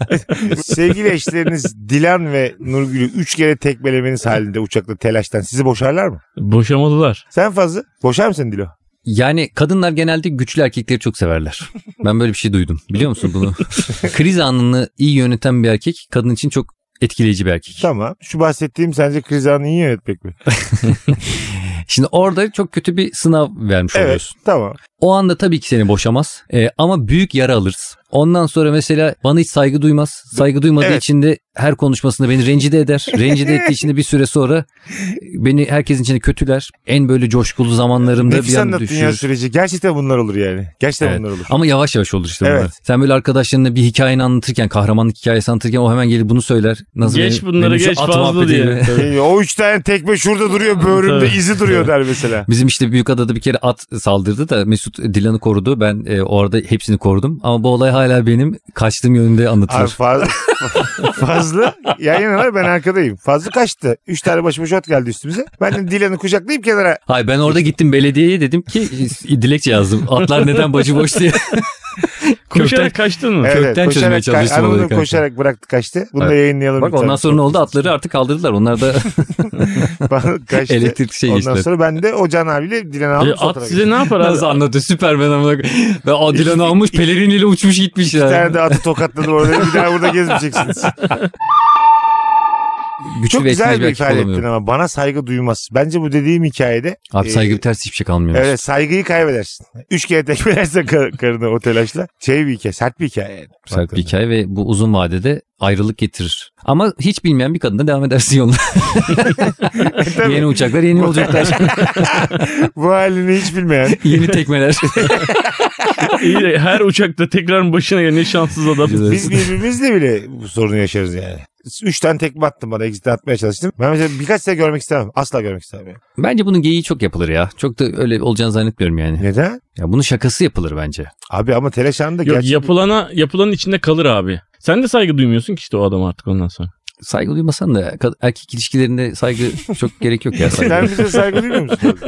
A: Sevgili eşleriniz Dilan ve Nurgül'ü üç kere tekmelemeniz halinde uçakta telaştan sizi boşarlar mı?
C: Boşamalılar.
A: Sen fazla boşar mısın Dilo?
B: Yani kadınlar genelde güçlü erkekleri çok severler. Ben böyle bir şey duydum. Biliyor musun bunu? Kriz anını iyi yöneten bir erkek kadın için çok etkileyici bir erkek.
A: Tamam. Şu bahsettiğim sence kriz anını iyi yönetmek mi?
B: Şimdi orada çok kötü bir sınav vermiş
A: Evet.
B: oluyorsun.
A: Tamam.
B: O anda tabii ki seni boşamaz Ee, ama büyük yara alırız. Ondan sonra mesela bana hiç saygı duymaz. Saygı duymadığı
A: Evet.
B: için de her konuşmasında beni rencide eder. Rencide ettiği için de bir süre sonra beni herkesin içinde kötüler. En böyle coşkulu zamanlarımda
A: Nefis
B: bir an
A: anlattın ya
B: düşürür.
A: süreci. Gerçekten bunlar olur yani. Gerçekten
B: Evet.
A: bunlar olur.
B: Ama yavaş yavaş olur işte
A: Evet.
B: bunlar. Sen böyle arkadaşlarına bir hikayeni anlatırken, kahramanlık hikayesi anlatırken o hemen gelip bunu söyler.
C: Geç bunları,
B: şu
C: geç
B: at
C: fazla
B: muhabbeti
C: diye.
B: gibi.
A: Ee, o üç tane tekme şurada duruyor böğrümde
C: Tabii.
A: izi duruyor der mesela.
B: Bizim işte Büyükada'da bir kere at saldırdı da Mesut Dilan'ı korudu. Ben e, orada hepsini korudum. Ama bu olay hala benim kaçtığım yönünde
A: Abi
B: anlatılır.
A: fazla, fazla yayın var ben arkadayım. Fazla kaçtı. Üç tane başıma şot geldi üstümüze. Ben de Dilan'ı kucaklayıp kenara
B: Hayır ben orada gittim belediyeye dedim ki e, dilekçe yazdım. Atlar neden başıboş diye.
C: Koşarak kaçtın mı?
A: Evet,
B: Kökten çözmeye
A: koşarak,
B: çalıştım
A: ka-
B: olayı
A: hanımını
B: kanka.
A: koşarak bıraktı kaçtı. Bunu da
B: Evet.
A: yayınlayalım.
B: Bak ondan sonra ne oldu? Atları artık kaldırdılar. Onlar da
A: sonra kaçtı.
B: elektrik şey
A: ondan
B: geçtiler.
A: sonra ben de o Can abiyle Dilan'ı
C: E,
A: aldım.
C: at size ne yapar abi?
B: Nasıl anlatıyor? Süpermen amına koyayım. Ve o Dilan'ı almış peleriniyle uçmuş gitmiş
A: Bir tane
B: yani.
A: de atı tokatladım orada. Bir daha burada gezmeyeceksiniz.
B: Güçlü
A: Çok
B: ve
A: güzel
B: etkili
A: bir
B: bir rakip
A: ifade ettin
B: olamıyorum.
A: ama bana saygı duymaz. Bence bu dediğim hikayede
B: Abi
A: Ee,
B: saygı bir ters hiçbir şey kalmıyor.
A: evet saygıyı kaybedersin. Üç kere tekmelersen kar- karını o telaşla. Şey bir hikaye, sert bir hikaye.
B: Sert bir hikaye ve bu uzun vadede ayrılık getirir. Ama hiç bilmeyen bir kadına devam edersin yoluna.
A: Tabii.
B: yeni uçaklar, yeni yolculuklar,
A: Bu halini hiç bilmeyen.
B: yeni tekmeler.
C: İyi de her uçakta tekrar başına gelen ne şanssız adam.
A: Biz birbirimizle bile bu sorunu yaşarız yani. Üç tane tekme attım bana exit atmaya çalıştım. Ben mesela birkaç sene görmek istemem. Asla görmek istemem. yani.
B: Bence bunun geyiği çok yapılır ya. Çok da öyle olacağını zannetmiyorum yani.
A: Neden?
B: Ya bunun şakası yapılır bence.
A: Abi ama Teleş anında
C: Yok
A: gerçek-
C: yapılana yapılanın içinde kalır abi. Sen de saygı duymuyorsun ki işte o adam artık ondan sonra.
B: Saygı duymasan da kad- erkek ilişkilerinde saygı çok gerek yok ya.
A: Sen
B: Saygı.
A: bize saygı duymuyor musun?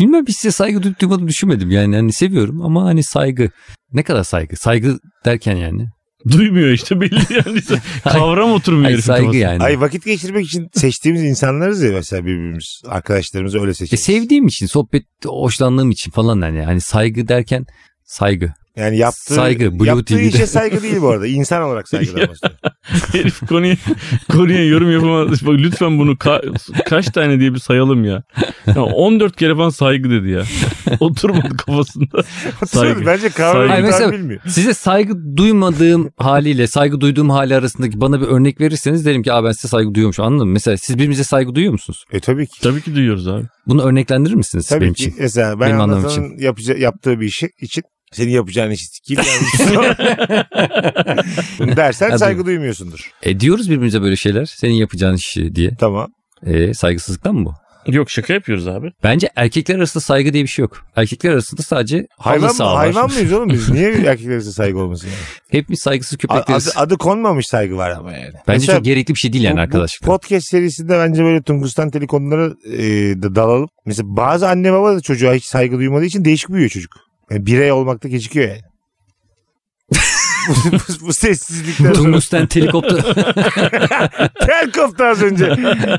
B: Bilmem hiç size saygı duyup duymadığımı düşünmedim yani. Hani seviyorum ama hani saygı. Ne kadar saygı? Saygı derken yani.
C: Duymuyor işte belli yani. Kavram oturmuyor
B: Hayır
C: herifin
B: saygı
C: kafasına.
B: yani.
A: Ay vakit geçirmek için seçtiğimiz insanlarız ya mesela birbirimiz. Arkadaşlarımızı öyle
B: E
A: seçiyoruz.
B: sevdiğim için, sohbet hoşlandığım için falan yani. Hani saygı derken saygı.
A: yani yaptığı,
B: Saygı, Blue
A: yaptığı
B: TV'de.
A: işe saygı değil bu arada. İnsan olarak saygılanması.
C: Herif konuya, konuya yorum yapamaz. Bak lütfen bunu ka- kaç tane diye bir sayalım ya. ya. 14 kere falan saygı dedi ya. Oturmadı kafasında. Saygı.
A: Bence
C: Saygı.
A: kavramı
B: Ay,
A: tam
B: mesela-
A: bilmiyor.
B: Size saygı duymadığım haliyle saygı duyduğum hali arasındaki bana bir örnek verirseniz derim ki Aa, ben size saygı duyuyormuşum anladın mı? Mesela siz birbirinize saygı duyuyor musunuz?
A: E tabii ki.
C: Tabii ki duyuyoruz abi.
B: Bunu örneklendirir misiniz siz
A: Tabii
B: benim
A: ki.
B: için?
A: Mesela ben
B: Benim anlamım
A: anlatanın yapaca- yaptığı bir işi için senin yapacağın işi kim yapmış? dersen
B: Hadi.
A: saygı duymuyorsundur.
B: E diyoruz birbirimize böyle şeyler. Senin yapacağın işi diye.
A: Tamam.
B: E saygısızlıktan mı bu?
C: Yok şaka yapıyoruz abi.
B: Bence erkekler arasında saygı diye bir şey yok. Erkekler arasında sadece halı
A: Hayvan, mı,
B: saha var.
A: hayvan mıyız oğlum biz? Niye erkeklere saygı olmasın? yani?
B: Hepimiz saygısız
A: A- Adı,
B: köpekleriz.
A: adı konmamış saygı var ama yani.
B: Bence
A: Mesela
B: çok gerekli bir şey değil
A: bu-
B: yani
A: bu
B: arkadaşlar.
A: Podcast serisinde bence böyle tungustan teli konulara e, da- dalalım. Mesela bazı anne baba da çocuğa hiç saygı duymadığı için değişik büyüyor çocuk. Yani birey olmakta gecikiyor yani. bu, bu, bu sessizlikten sonra.
B: Tungusten helikopter.
A: Tel koptu az önce.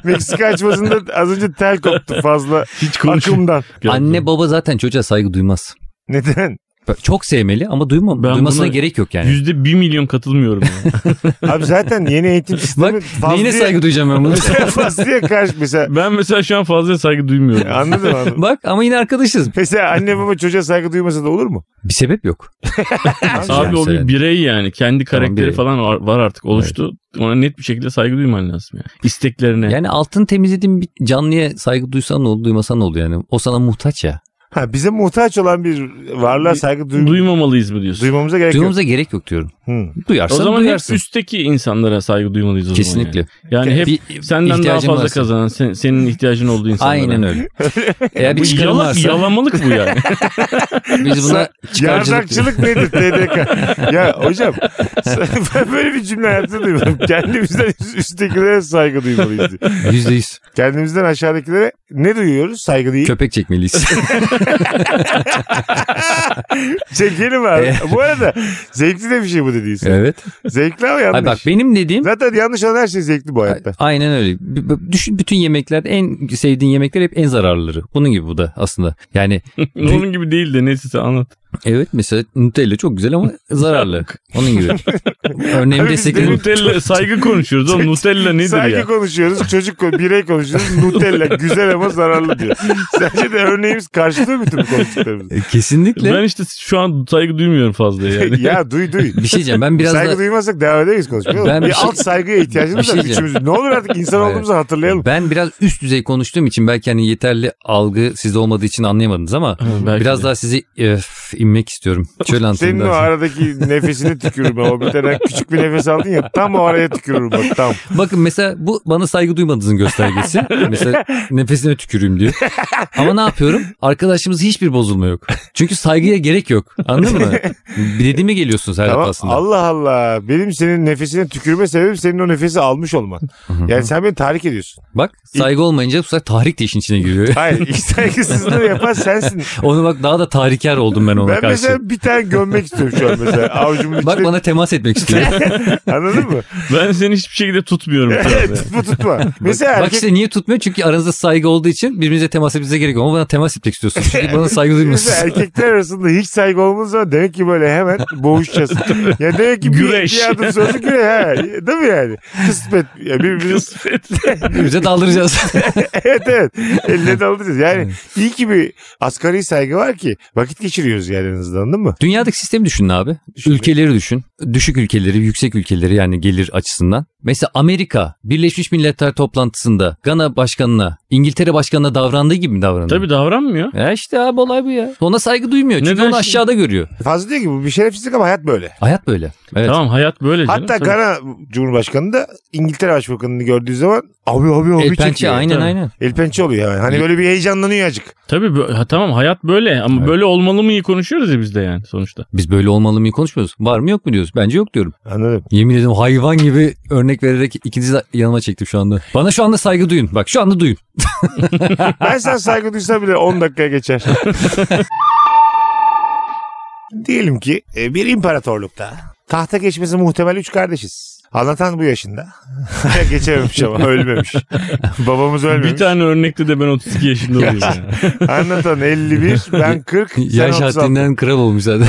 A: Meksika açmasında az önce tel koptu fazla
C: Hiç konuşmadım.
A: akımdan.
B: Anne baba zaten çocuğa saygı duymaz.
A: Neden?
B: Çok sevmeli ama duyma,
C: Ben
B: duymasına
C: buna
B: gerek yok yani.
C: Yüzde bir milyon katılmıyorum. ya.
A: Abi zaten yeni eğitim sistemi
B: Bak neyine saygı duyacağım ben bunu?
A: Fazlaya karşı mesela.
C: ben mesela şu an fazla saygı duymuyorum.
A: Anladın mı?
B: Bak ama yine arkadaşız.
A: Mesela anne baba çocuğa saygı duymasa da olur mu?
B: Bir sebep yok.
A: Abi,
C: Abi o
B: mesela-
C: bir birey yani. Kendi
B: Tamam,
C: karakteri
B: birey.
C: falan var- var artık oluştu. Ona net bir şekilde saygı duyman lazım yani. İsteklerine.
B: Yani altın temizlediğin bir canlıya saygı duysan ne olur duymasan ne olur yani. O sana muhtaç ya.
A: Ha, bize muhtaç olan bir varlığa
C: Du-
A: saygı duy-
C: Duymamalıyız mı diyorsun?
A: duymamıza gerek yok.
B: Duymamıza gerek yok diyorum.
A: Hı.
B: Duyarsan
C: o zaman hep
B: duyarsın.
C: üstteki insanlara saygı duymalıyız o zaman.
B: Kesinlikle.
C: Yani, yani hep
B: Bir
C: senden daha
B: ihtiyacın
C: fazla
B: varsa.
C: kazanan, sen- senin ihtiyacın olduğu insanlara.
B: Aynen öyle. Eğer bir
C: Bu
B: çıkarım
C: yala-
B: varsa
C: yalamalık bu yani.
B: biz buna çıkarcılık diyoruz.
A: Yardakçılık nedir TDK? ya hocam ben böyle bir cümle hayatımda duymadım. Kendimizden üst- üsttekilere saygı duymalıyız diyor.
B: Yüzde yüz.
A: Kendimizden aşağıdakilere ne duyuyoruz? Saygı değil.
B: Köpek çekmeliyiz.
A: Çekelim abi. bu arada zevkli de bir şey bu dediğin. sen.
B: evet.
A: Zevkli ama
B: Ay
A: yanlış.
B: bak benim dediğim
A: Zaten yanlış olan her şey zevkli bu hayatta.
B: Aynen öyle. B- b- Düşün bütün yemekler en sevdiğin yemekler hep en zararlıları. Bunun gibi bu da aslında. Yani
C: Onun gibi değil de neyse sen anlat.
B: evet mesela Nutella çok güzel ama zararlı. Onun gibi. Örneğimi
A: Abi biz
B: destekledim.
C: Nutella saygı konuşuyoruz oğlum. Nutella nedir
A: Saygı
C: ya?
A: konuşuyoruz, çocuk ko- birey konuşuyoruz. Nutella güzel ama zararlı diyor. Sence de örneğimiz karşılıyor mu bütün bu konuştuklarımız?
B: E, Kesinlikle.
C: Ben işte şu an saygı duymuyorum fazla yani.
A: ya duy duy.
B: Bir şey diyeceğim ben biraz
A: saygı
B: da
A: duymazsak devam edemeyiz konuşmaya.
B: Ben
A: bir,
B: bir şey-
A: alt saygıya
B: Bir
A: ihtiyacımız
B: şey
A: var
B: diyeceğim.
A: üçümüzün. Ne olur artık insan
B: Hayır.
A: olduğumuzu hatırlayalım.
B: ben biraz üst düzey konuştuğum için belki hani yeterli algı sizde olmadığı için anlayamadınız ama
C: Ha, belki
B: biraz
C: de.
B: daha sizi öf, inmek istiyorum. Şöyle
A: Senin
B: anlatayım
A: o
B: ben.
A: aradaki nefesini tükürürüm. O bir tane küçük bir nefes aldın ya tam o araya tükürürüm bak tam.
B: Bakın mesela bu bana saygı duymadığınızın göstergesi. mesela nefesine tüküreyim diyor. Ama ne yapıyorum? Arkadaşımız hiçbir bozulma yok. Çünkü saygıya gerek yok. Anladın mı? Dediğime geliyorsunuz her
A: Tamam.
B: defasında.
A: Allah Allah. Benim senin nefesine tükürme sebebim senin o nefesi almış olman.
B: hı.
A: Yani sen beni tahrik ediyorsun.
B: Bak saygı olmayınca bu sefer tahrik de işin içine giriyor.
A: Hayır. ilk Saygısızlığı yapan sensin.
B: Onu bak daha da tahrikar oldum ben ona
A: Ben
B: karşı.
A: mesela bir tane gömmek istiyorum şu an mesela. Avucumun içine.
B: Bak bana temas etmek istiyor.
A: Anladın mı?
C: Ben seni hiçbir şekilde tutmuyorum şu anda.
A: tutma tutma. Mesela
B: Bak
A: erkek
B: işte niye tutmuyor? Çünkü aranızda saygı olduğu için birbirinize temas etmenize gerek yok. Ama bana temas etmek istiyorsunuz. Çünkü bana saygı
A: Mesela
B: duymuyorsunuz.
A: erkekler arasında hiç saygı olmadığı zaman demek ki böyle hemen boğuşacağız. ya demek ki bir,
C: Güreş.
A: bir adım sonra güreş. Ha. Değil mi yani? Kısmet. Ya birbirimiz...
C: Kısmet.
B: Birbirimize daldıracağız.
A: evet evet. Elle dalacağız. Yani iyi ki bir asgari saygı var ki vakit geçiriyoruz yani en azından anladın mı?
B: Dünyadaki sistemi düşünün abi.
A: Düşün.
B: Ülkeleri düşün. Düşük ülkeleri, yüksek ülkeleri yani gelir açısından. Mesela Amerika Birleşmiş Milletler toplantısında Gana başkanına, İngiltere başkanına davrandığı gibi mi davranıyor?
C: Tabii davranmıyor.
B: Ya işte abi olay bu ya. Ona saygı duymuyor. Çünkü
C: Neden
B: onu
C: şimdi-
B: aşağıda görüyor.
A: Fazla diyor ki bu bir şerefsizlik ama hayat böyle.
B: Hayat böyle. Evet.
C: Tamam hayat böyle canım.
A: Hatta
C: Tabii.
A: Gana Cumhurbaşkanı da İngiltere Başbakanı'nı gördüğü zaman abi abi abi
B: El pençe
A: çekiyor.
B: E, aynen
C: Tabii.
B: aynen.
A: El pençe oluyor yani. Hani böyle bir heyecanlanıyor acık.
C: Tabii bö- ha, tamam hayat böyle ama
B: Evet.
C: böyle olmalı mı iyi konuşuyoruz ya biz de yani sonuçta.
B: Biz böyle olmalı mı konuşmuyoruz. Var mı yok mu diyoruz. Bence yok diyorum.
A: Anladım.
B: Yemin ederim hayvan gibi örnek vererek ikinizi de yanıma çektim şu anda. Bana şu anda saygı duyun. Bak şu anda duyun.
A: Ben sana saygı duysam bile 10 dakikaya geçer. Diyelim ki e, bir imparatorlukta tahta geçmesi muhtemel 3 kardeşiz. Anlatan bu yaşında. Geçememiş ama ölmemiş. Babamız
C: Bir
A: ölmemiş.
C: tane örnekte de ben 32 yaşında oluyorum. ya.
A: Anlatan 51, ben 40, sen
B: Yaş
A: 36.
B: haddinden kral olmuş zaten.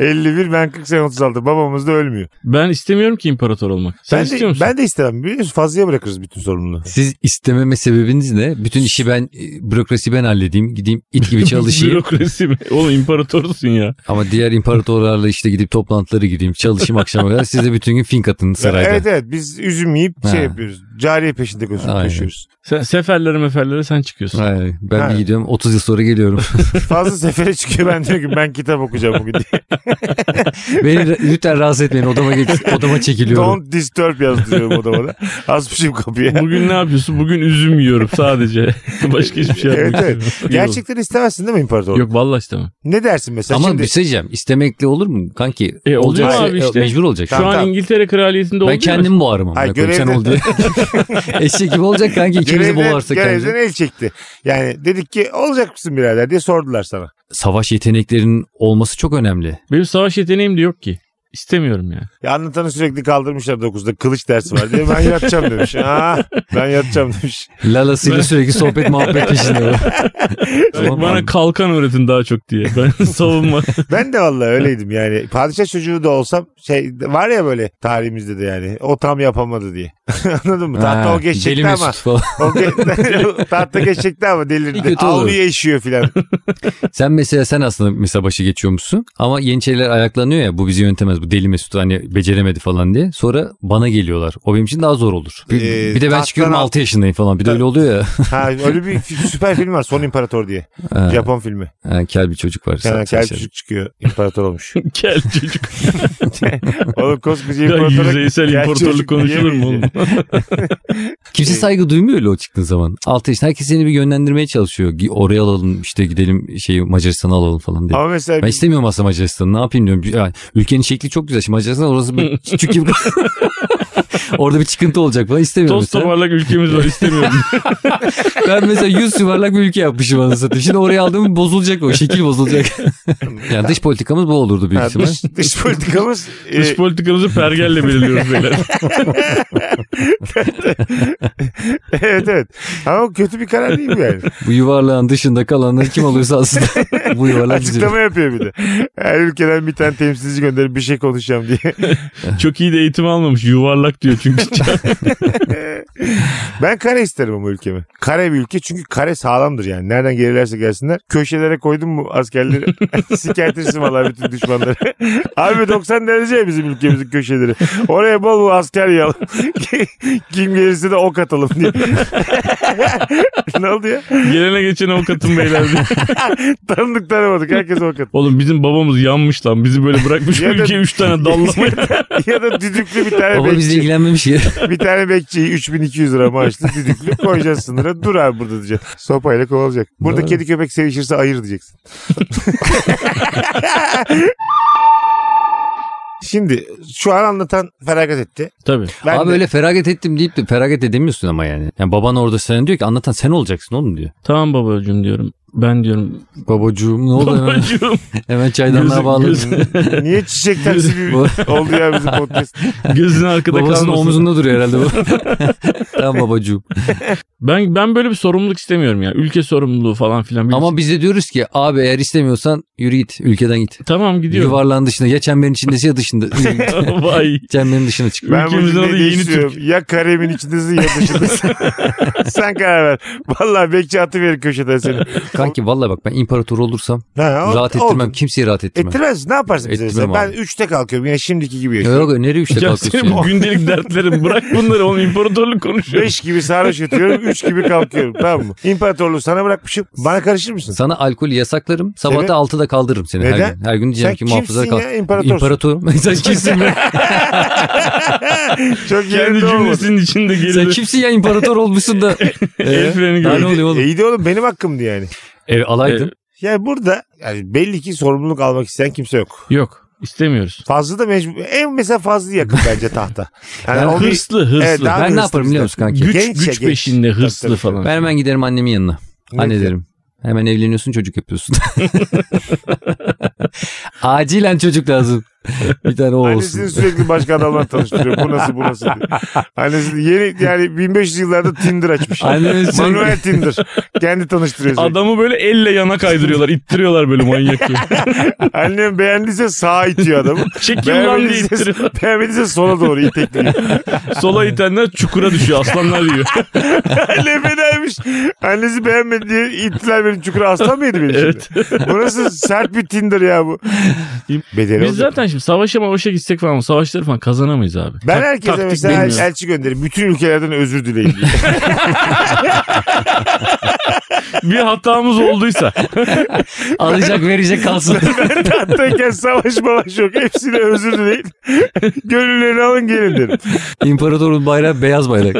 A: 51, ben 40, sen 36. Babamız da ölmüyor.
C: Ben istemiyorum ki imparator olmak. Sen
A: ben,
C: istiyor
A: de,
C: musun?
A: ben de istemem. Biliyor musun? Fazlaya bırakırız bütün sorumluluğu.
B: Siz istememe sebebiniz ne? Bütün işi ben, e, bürokrasi ben halledeyim. Gideyim it gibi çalışayım.
C: Bürokrasi mi? Oğlum imparatorsun ya.
B: Ama diğer imparatorlarla işte gidip toplantılara gireyim. Çalışayım akşama kadar. Siz de bütün bütün gün fink atın sarayda.
A: Evet evet biz üzüm yiyip
B: Ha.
A: şey yapıyoruz. Cariye peşinde koşup
B: Aynen.
A: koşuyoruz.
C: Sen, seferlere meferlere sen çıkıyorsun.
B: Hayır, ben
A: Ha.
B: bir gidiyorum 30 yıl sonra geliyorum.
A: Fazla sefere çıkıyor ben diyorum ki ben kitap okuyacağım bugün diye.
B: Beni lütfen rahatsız etmeyin odama geç, odama çekiliyorum.
A: Don't disturb yazdırıyorum odama da. Asmışım kapıya.
C: Bugün ne yapıyorsun? Bugün üzüm yiyorum sadece. Başka hiçbir şey
A: Evet,
C: yapmıyorum.
A: Gerçekten istemezsin değil mi imparator?
C: Yok vallahi istemem.
A: Ne dersin mesela
B: Ama
A: şimdi?
B: bir şey diyeceğim istemekli olur mu kanki?
C: E, oluyor
B: Olacaksa-
C: abi işte.
B: Mecbur olacak.
C: Şu
A: Tamam,
C: an
A: tamam.
C: İngiltere kraliyetinde
B: ben
C: olduğum
B: kendim boğarım ama.
A: Ay,
B: Ay, sen
A: görevde-
B: ol diye. Eşek gibi olacak kanki ikimizi
A: Görevden-
B: boğarsa
A: görevden
B: kendi.
A: el çekti. Yani dedik ki olacak mısın birader diye sordular sana.
B: Savaş yeteneklerinin olması çok önemli.
C: Benim savaş yeteneğim de yok ki. İstemiyorum yani.
A: Ya anlatanı sürekli kaldırmışlar 9'da kılıç dersi var diye ben yatacağım demiş. Ha, ben yatacağım demiş.
B: Lalasıyla sürekli sohbet muhabbet peşinde. Tamam,
C: Bana
B: abi.
C: kalkan öğretin daha çok diye. Ben savunma.
A: Ben de vallahi öyleydim yani. Padişah çocuğu da olsam şey var ya böyle tarihimizde de yani o tam yapamadı diye. Anladın mı? Tahta
B: Ha,
A: o geçecekti
B: Deli Mesut
A: ama.
B: falan.
A: O ge- tahta geçecekti ama
B: Bir
A: delirdi.
B: kötü olur.
A: Avluya işiyor filan.
B: Sen mesela sen aslında mesela başı geçiyormuşsun ama Yeniçeriler ayaklanıyor ya bu bizi yönetemez bu deli Mesut hani beceremedi falan diye. Sonra bana geliyorlar. O benim için daha zor olur. Bir,
A: Ee,
B: bir de ben
A: tahttan
B: çıkıyorum
A: al-
B: 6 yaşındayım falan bir de öyle oluyor ya.
A: Ha, öyle bir fi- süper film var Son İmparator diye.
B: Ha, şey.
A: Japon filmi.
B: ha, kel bir çocuk var.
A: Yani kel
B: Sa- saçları.
A: çocuk çıkıyor. imparator olmuş.
C: Kel çocuk.
A: Oğlum koskoca
C: Ya
A: imparator.
C: yüzeysel
A: kel
C: imparatorluk
A: çocuk
C: konuşulur mu oğlum?
A: diyemeyince. Ee,
B: Kimse saygı duymuyor öyle o çıktığın zaman. 6 yaşında herkes seni bir yönlendirmeye çalışıyor. Gi- Oraya alalım işte gidelim şey Macaristan'a alalım falan diye.
A: Ama mesela
B: Ben istemiyorum aslında Macaristan'ı. Ne yapayım diyorum. Ya, ülkenin şekli çok güzel. Şimdi Macaristan orası bir küçük gibi. Orada bir çıkıntı olacak falan istemiyorum.
C: Toz
B: mesela.
C: toparlak ülkemiz var istemiyorum.
B: Ben mesela 100 yuvarlak bir ülke yapmışım anasını satayım. Şimdi oraya aldığım bozulacak o. Şekil bozulacak. yani dış politikamız bu olurdu büyük
A: Ha,
B: ihtimal.
A: dış, dış politikamız e,
C: Dış politikamızı pergelle belirliyoruz beyler.
A: evet evet. Ama o kötü bir karar değil mi yani?
B: Bu yuvarlağın dışında kalanları kim alıyorsa aslında bu yuvarlak bizim.
A: Açıklama yapıyor bir de. Her ülkeden bir tane temsilci gönderip bir şey konuşacağım diye.
C: Çok iyi de eğitim almamış. Yuvarlak diyor çünkü.
A: Ben kare isterim ama ülkemi. Kare bir ülke çünkü kare sağlamdır yani. Nereden gelirlerse gelsinler. Köşelere koydum mu askerleri sikertirsin valla bütün düşmanları. Abi 90 derece ya bizim ülkemizin köşeleri. Oraya bol bol asker yalım. Kim gelirse de ok atalım diye. ne oldu ya?
C: Gelene geçene avukatım beyler diyor.
A: Tanıdık tanımadık. Herkes ok atıyor.
C: Oğlum bizim babamız yanmış lan. Bizi böyle bırakmış bu
A: Ya da-
C: ülkeye 3 tane dallama.
A: ya da düdüklü bir tane
B: Baba bizi
A: bekçi.
B: ilgilenmemiş ki.
A: Bir tane bekçiyi 3200 lira maaşlı düdüklü koyacağız sınıra. Dur abi burada diyeceksin. Sopayla kovalayacak. Burada
B: Doğru.
A: kedi köpek sevişirse ayır diyeceksin. Şimdi şu an anlatan feragat etti.
C: Tabii.
A: Ben
B: Abi
A: de-
B: öyle feragat ettim deyip de feragat edemiyorsun ama yani. Yani baban orada sana diyor ki anlatan sen olacaksın oğlum diyor.
C: Tamam babacığım diyorum. Ben diyorum.
B: Babacığım ne oldu hemen,
C: Babacığım.
B: hemen çaydanlığa
C: Gözü-
B: bağlı.
C: gözü-
A: Hmm, Niye çiçek tersi gibi oldu ya bizim podcast?
C: Gözün arkada
B: Babasının
C: kalmasın.
B: omzunda duruyor herhalde bu. tamam babacığım.
C: Ben ben böyle bir sorumluluk istemiyorum ya. Ülke sorumluluğu falan filan. şey- Bilirsin.
B: Ama biz de diyoruz ki abi eğer istemiyorsan yürü git ülkeden git.
C: tamam gidiyorum.
B: Yuvarlağın dışında ya çemberin içindesi ya dışında.
C: Vay.
B: çemberin dışına çık.
A: Ben bu
C: Ülkemizin adı
A: cümleyi
C: Yeni
A: değiştiriyorum. Ya karemin içindesin ya dışındasın. Sen karar ver. Vallahi bekçi atıverir köşeden seni.
B: Kanki vallahi bak ben imparator olursam
A: Ha, o-
B: rahat ettirmem.
A: oldun.
B: Kimseyi rahat ettirmem.
A: Ettirmez. Ne yaparsın bize?
B: Ettirmem
A: mesela? Ben
B: abi.
A: 3'te kalkıyorum. Yine şimdiki gibi yaşıyorum.
B: Yok yok nereye üçte
C: Ya senin
B: kalkıyorsun
C: bu
B: ya?
C: gündelik dertlerin bırak bunları oğlum imparatorluk konuşuyor.
A: 5 gibi sarhoş yatıyorum 3 gibi kalkıyorum tamam mı? İmparatorluğu sana bırakmışım bana karışır mısın?
B: Sana alkolü yasaklarım. Sabah
A: Sebep?
B: da altıda kaldırırım seni her
A: Neden?
B: gün. Her gün
A: Sen
B: diyeceğim ki muhafaza
A: kimsin
B: kal.
A: ya imparatorsun?
B: İmparator. Sen kimsin ya?
A: Çok
C: Kendi
A: yerinde olmadı.
C: cümlesinin içinde
B: Sen
C: gerilir.
B: kimsin ya imparator olmuşsun da. Ee,
C: El freni
B: Daha
C: görüyor.
B: ne oluyor oğlum?
A: İyi de oğlum benim hakkımdı yani.
B: E, alaydın.
A: Yani burada yani belli ki sorumluluk almak isteyen kimse yok.
C: Yok istemiyoruz.
A: Fazla da mecbur. En mesela fazla yakın bence tahta. Yani
B: Yani
A: o bir-
C: Hırslı hırslı.
A: Evet, daha
B: ben ne
A: hırslı
B: yaparım biliyor musun kanki?
C: güç
A: Genç ya,
C: güç
A: genç.
C: peşinde hırslı
A: Tabii, tabii.
C: falan.
B: Ben hemen giderim annemin yanına.
A: Ne
B: Anne
A: diyor?
B: derim. Hemen evleniyorsun çocuk yapıyorsun. Acilen çocuk lazım. Bir tane o
A: Annesini
B: olsun.
A: sürekli başka adamla tanıştırıyor. Bu nasıl bu nasıl diyor. Annesini yeni yani 1500 yıllarda Tinder açmış.
B: Annemin sürekli-
A: şey- Manuel Tinder. Kendi tanıştırıyor. sürekli.
C: Adamı böyle elle yana kaydırıyorlar. ittiriyorlar böyle manyak gibi.
A: Annem beğendiyse sağa itiyor adamı.
C: Çekil lan diye
A: Beğenmediyse,
C: ittiriyor.
A: beğenmediyse sola doğru itekliyor.
C: Sola itenler çukura düşüyor. Aslanlar yiyor.
A: Anne fenaymış. Annesi beğenmedi diye ittiler beni çukura. Aslan mıydı beni
C: Evet.
A: şimdi? Bu nasıl sert bir Tinder ya bu. Bedeli
C: Biz
A: olacak.
C: zaten şimdi savaşa mavaşa gitsek falan savaşları falan kazanamayız abi.
A: Ben
C: Tak-
A: herkese
C: taktik
A: mesela
C: bilmiyorum.
A: elçi gönderirim. Bütün ülkelerden özür dileyin diye.
C: bir hatamız olduysa
B: Alacak verecek kalsın.
A: ben tahtayken savaş mavaş yok. Hepsine özür dileyin. Gönüllerini alın gelin derim.
B: İmparatorun bayrağı beyaz bayrak.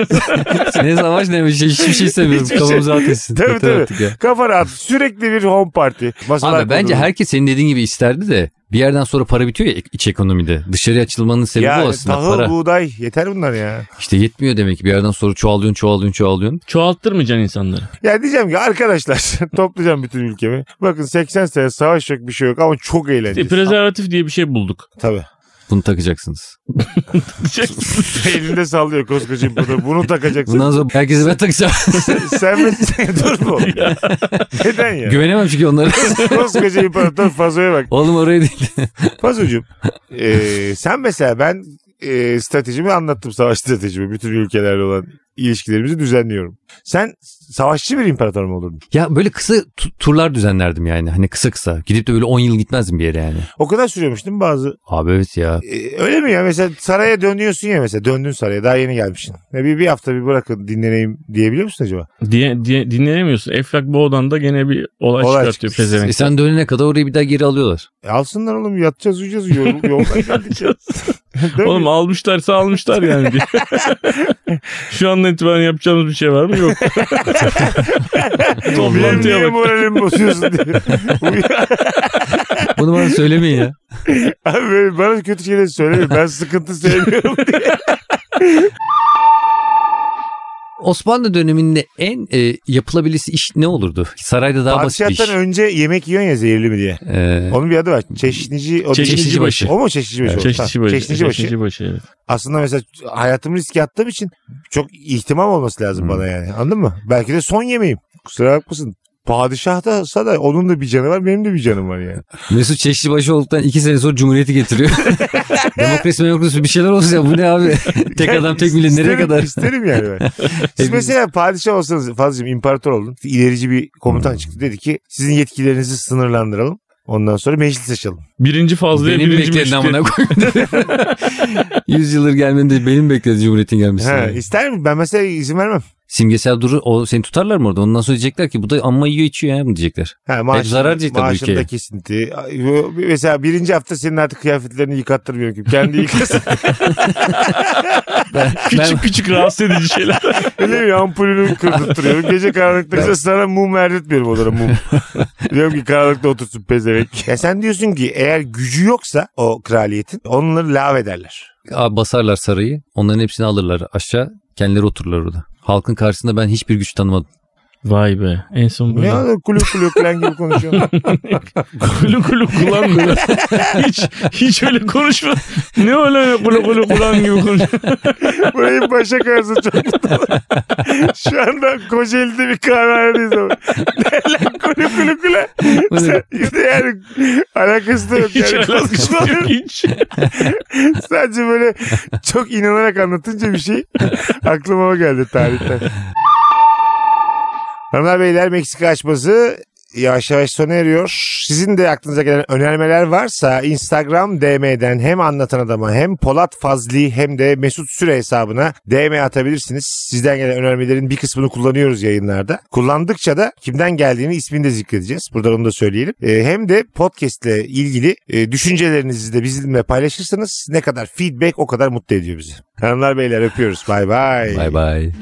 B: ne savaş ne bir şey hiçbir şey istemiyorum.
A: Hiçbir şey.
B: Kafamızı ateşsin.
A: Tabii,
B: Yeter
A: tabii.
B: artık ya.
A: Kafa rahat. Sürekli bir home party. Masalar
B: Abi bence
A: kurulur.
B: herkes senin dediğin gibi isterdi de bir yerden sonra para bitiyor ya iç ekonomide. Dışarıya açılmanın sebebi
A: ya,
B: o aslında
A: tahıl,
B: para.
A: buğday yeter bunlar ya.
B: İşte yetmiyor demek ki bir yerden sonra çoğalıyorsun çoğalıyorsun çoğalıyorsun.
C: çoğalttırmayacaksın insanları.
A: Ya diyeceğim ki arkadaşlar toplayacağım bütün ülkemi. Bakın 80 sene savaş yok bir şey yok ama çok
C: İşte
A: eğlenceli.
C: prezervatif diye bir şey bulduk.
A: Tabii.
B: Bunu takacaksınız.
A: Elinde sallıyor koskoca burada. Bunu takacaksın.
B: Bundan sonra herkese ben takacağım.
A: Sen mi? Dur bu. Neden ya?
B: Güvenemem çünkü onlara.
A: Koskoca imparator Fazo'ya bak.
B: Oğlum oraya değil.
A: Fazocuğum eee, sen mesela ben eee, stratejimi anlattım savaş stratejimi. Bütün ülkelerle olan ilişkilerimizi düzenliyorum. Sen savaşçı bir imparator mu olurdun?
B: Ya böyle kısa tu- turlar düzenlerdim yani. Hani kısa kısa. Gidip de böyle 10 yıl gitmezdim bir yere yani.
A: O kadar sürüyormuş değil mi bazı?
B: Abi evet ya.
A: Eee, E, öyle mi ya? Mesela saraya dönüyorsun ya mesela. Döndün saraya daha yeni gelmişsin. Ya bir, bir hafta bir bırakın dinleneyim diyebiliyor musun acaba?
C: Diye, diye, dinleyemiyorsun. Eflak Boğdan da gene bir
A: Olay
C: olay, çıkartıyor
A: çıkıyor.
B: E
C: pezevenk.
B: sen dönene kadar orayı bir daha geri alıyorlar.
A: E, alsınlar oğlum yatacağız uyuyacağız. Yol, yoldan geldik ya. Değil mi?
C: Oğlum almışlarsa almışlar yani. diye. Şu andan itibaren yapacağımız bir şey var mı? Yok.
A: Benim niye
C: Toplantıya bak.
A: moralimi bozuyorsun diye. Uyu-
B: Bunu bana söylemeyin ya.
A: Abi böyle bana kötü şeyler söyleme. Ben sıkıntı sevmiyorum.
B: Osmanlı döneminde en e, yapılabilisi iş ne olurdu? Sarayda daha basit bir iş.
A: Padişah'tan önce yemek yiyorsun ya zehirli mi diye.
B: Ee,
A: Onun bir adı var. Çeşnici. O
C: Çeşnici
A: Çeşnici
C: başı.
A: O mu çeşnici başı? Tamam.
C: Çeşnici başı.
A: Çeşnici başı.
C: Çeşnici başı, evet.
A: Aslında mesela hayatımı riske attığım için çok ihtimam olması lazım
B: Hmm.
A: bana yani. Anladın mı? Belki de son yemeğim. Kusura bakmasın. Padişah da sana onun da bir canı var benim de bir canım var yani.
B: Mesut Çeşnibaşı olduktan iki sene sonra Cumhuriyeti getiriyor. demokrasi demokrasi bir şeyler olsun ya bu ne abi? tek
A: Yani
B: adam tek millet nereye
A: isterim-
B: kadar?
A: İsterim yani ben. Siz mesela padişah olsanız fazlacığım imparator olun. İlerici bir komutan çıktı dedi ki sizin yetkilerinizi sınırlandıralım. Ondan sonra meclis açalım.
C: Birinci fazlaya
B: Benim
C: birinci
B: bekledim amına
C: meşrutiyet.
B: koyayım. Yüz yıldır gelmeni de benim bekledi Cumhuriyet'in gelmesini.
A: Ha, ister mi? Ben mesela izin vermem.
B: Simgesel duru o seni tutarlar mı orada? Ondan sonra diyecekler ki bu da amma yiyor içiyor ya mı diyecekler.
A: Ha, maaşın,
B: zarar cidden bu
A: maaşında
B: ülkeye.
A: kesinti. Mesela birinci hafta senin artık kıyafetlerini yıkattırmıyorum ki. Kendi yıkasın.
C: Küçük küçük rahatsız edici şeyler.
A: Öyle mi? Ampulünü kırdırttırıyorum. Gece karanlıkta mesela sana mum verdirtmiyorum odana mum. diyorum ki karanlıkta otursun pezevenk. Ya sen diyorsun ki eğer gücü yoksa o kraliyetin onları lav ederler.
B: Abi basarlar sarayı. Onların hepsini alırlar aşağı. Kendileri otururlar orada. Halkın karşısında ben hiçbir güç tanımadım.
C: Vay be. En son
A: Ne
C: böyle.
A: oldu? Kulüp kulüp falan gibi konuşuyorsun.
C: Kulu kulu kulan böyle. hiç, hiç öyle konuşma. Ne öyle kulu kulu kulan gibi konuşma.
A: Burayı başa karşı çok tutalım. Şu anda Kocaeli'de bir kahvehanedeyiz ama. Derler kulüp kulüp kulüp. Sen- yani alakası da yok.
C: Hiç
A: Yani
C: alakası
A: konuşmaları-
C: yok. Hiç.
A: Sadece böyle çok inanarak anlatınca bir şey aklıma o geldi tarihten. Hanımlar beyler Meksika açması yavaş yavaş sona eriyor. Sizin de aklınıza gelen önermeler varsa Instagram DM'den hem anlatan adama hem Polat Fazli hem de Mesut Süre hesabına DM atabilirsiniz. Sizden gelen önermelerin bir kısmını kullanıyoruz yayınlarda. Kullandıkça da kimden geldiğini ismini de zikredeceğiz. Buradan onu da söyleyelim. Ee, hem de podcast ile ilgili e, düşüncelerinizi de bizimle paylaşırsanız ne kadar feedback o kadar mutlu ediyor bizi. Hanımlar beyler öpüyoruz. Bay bay.
B: Bay bay.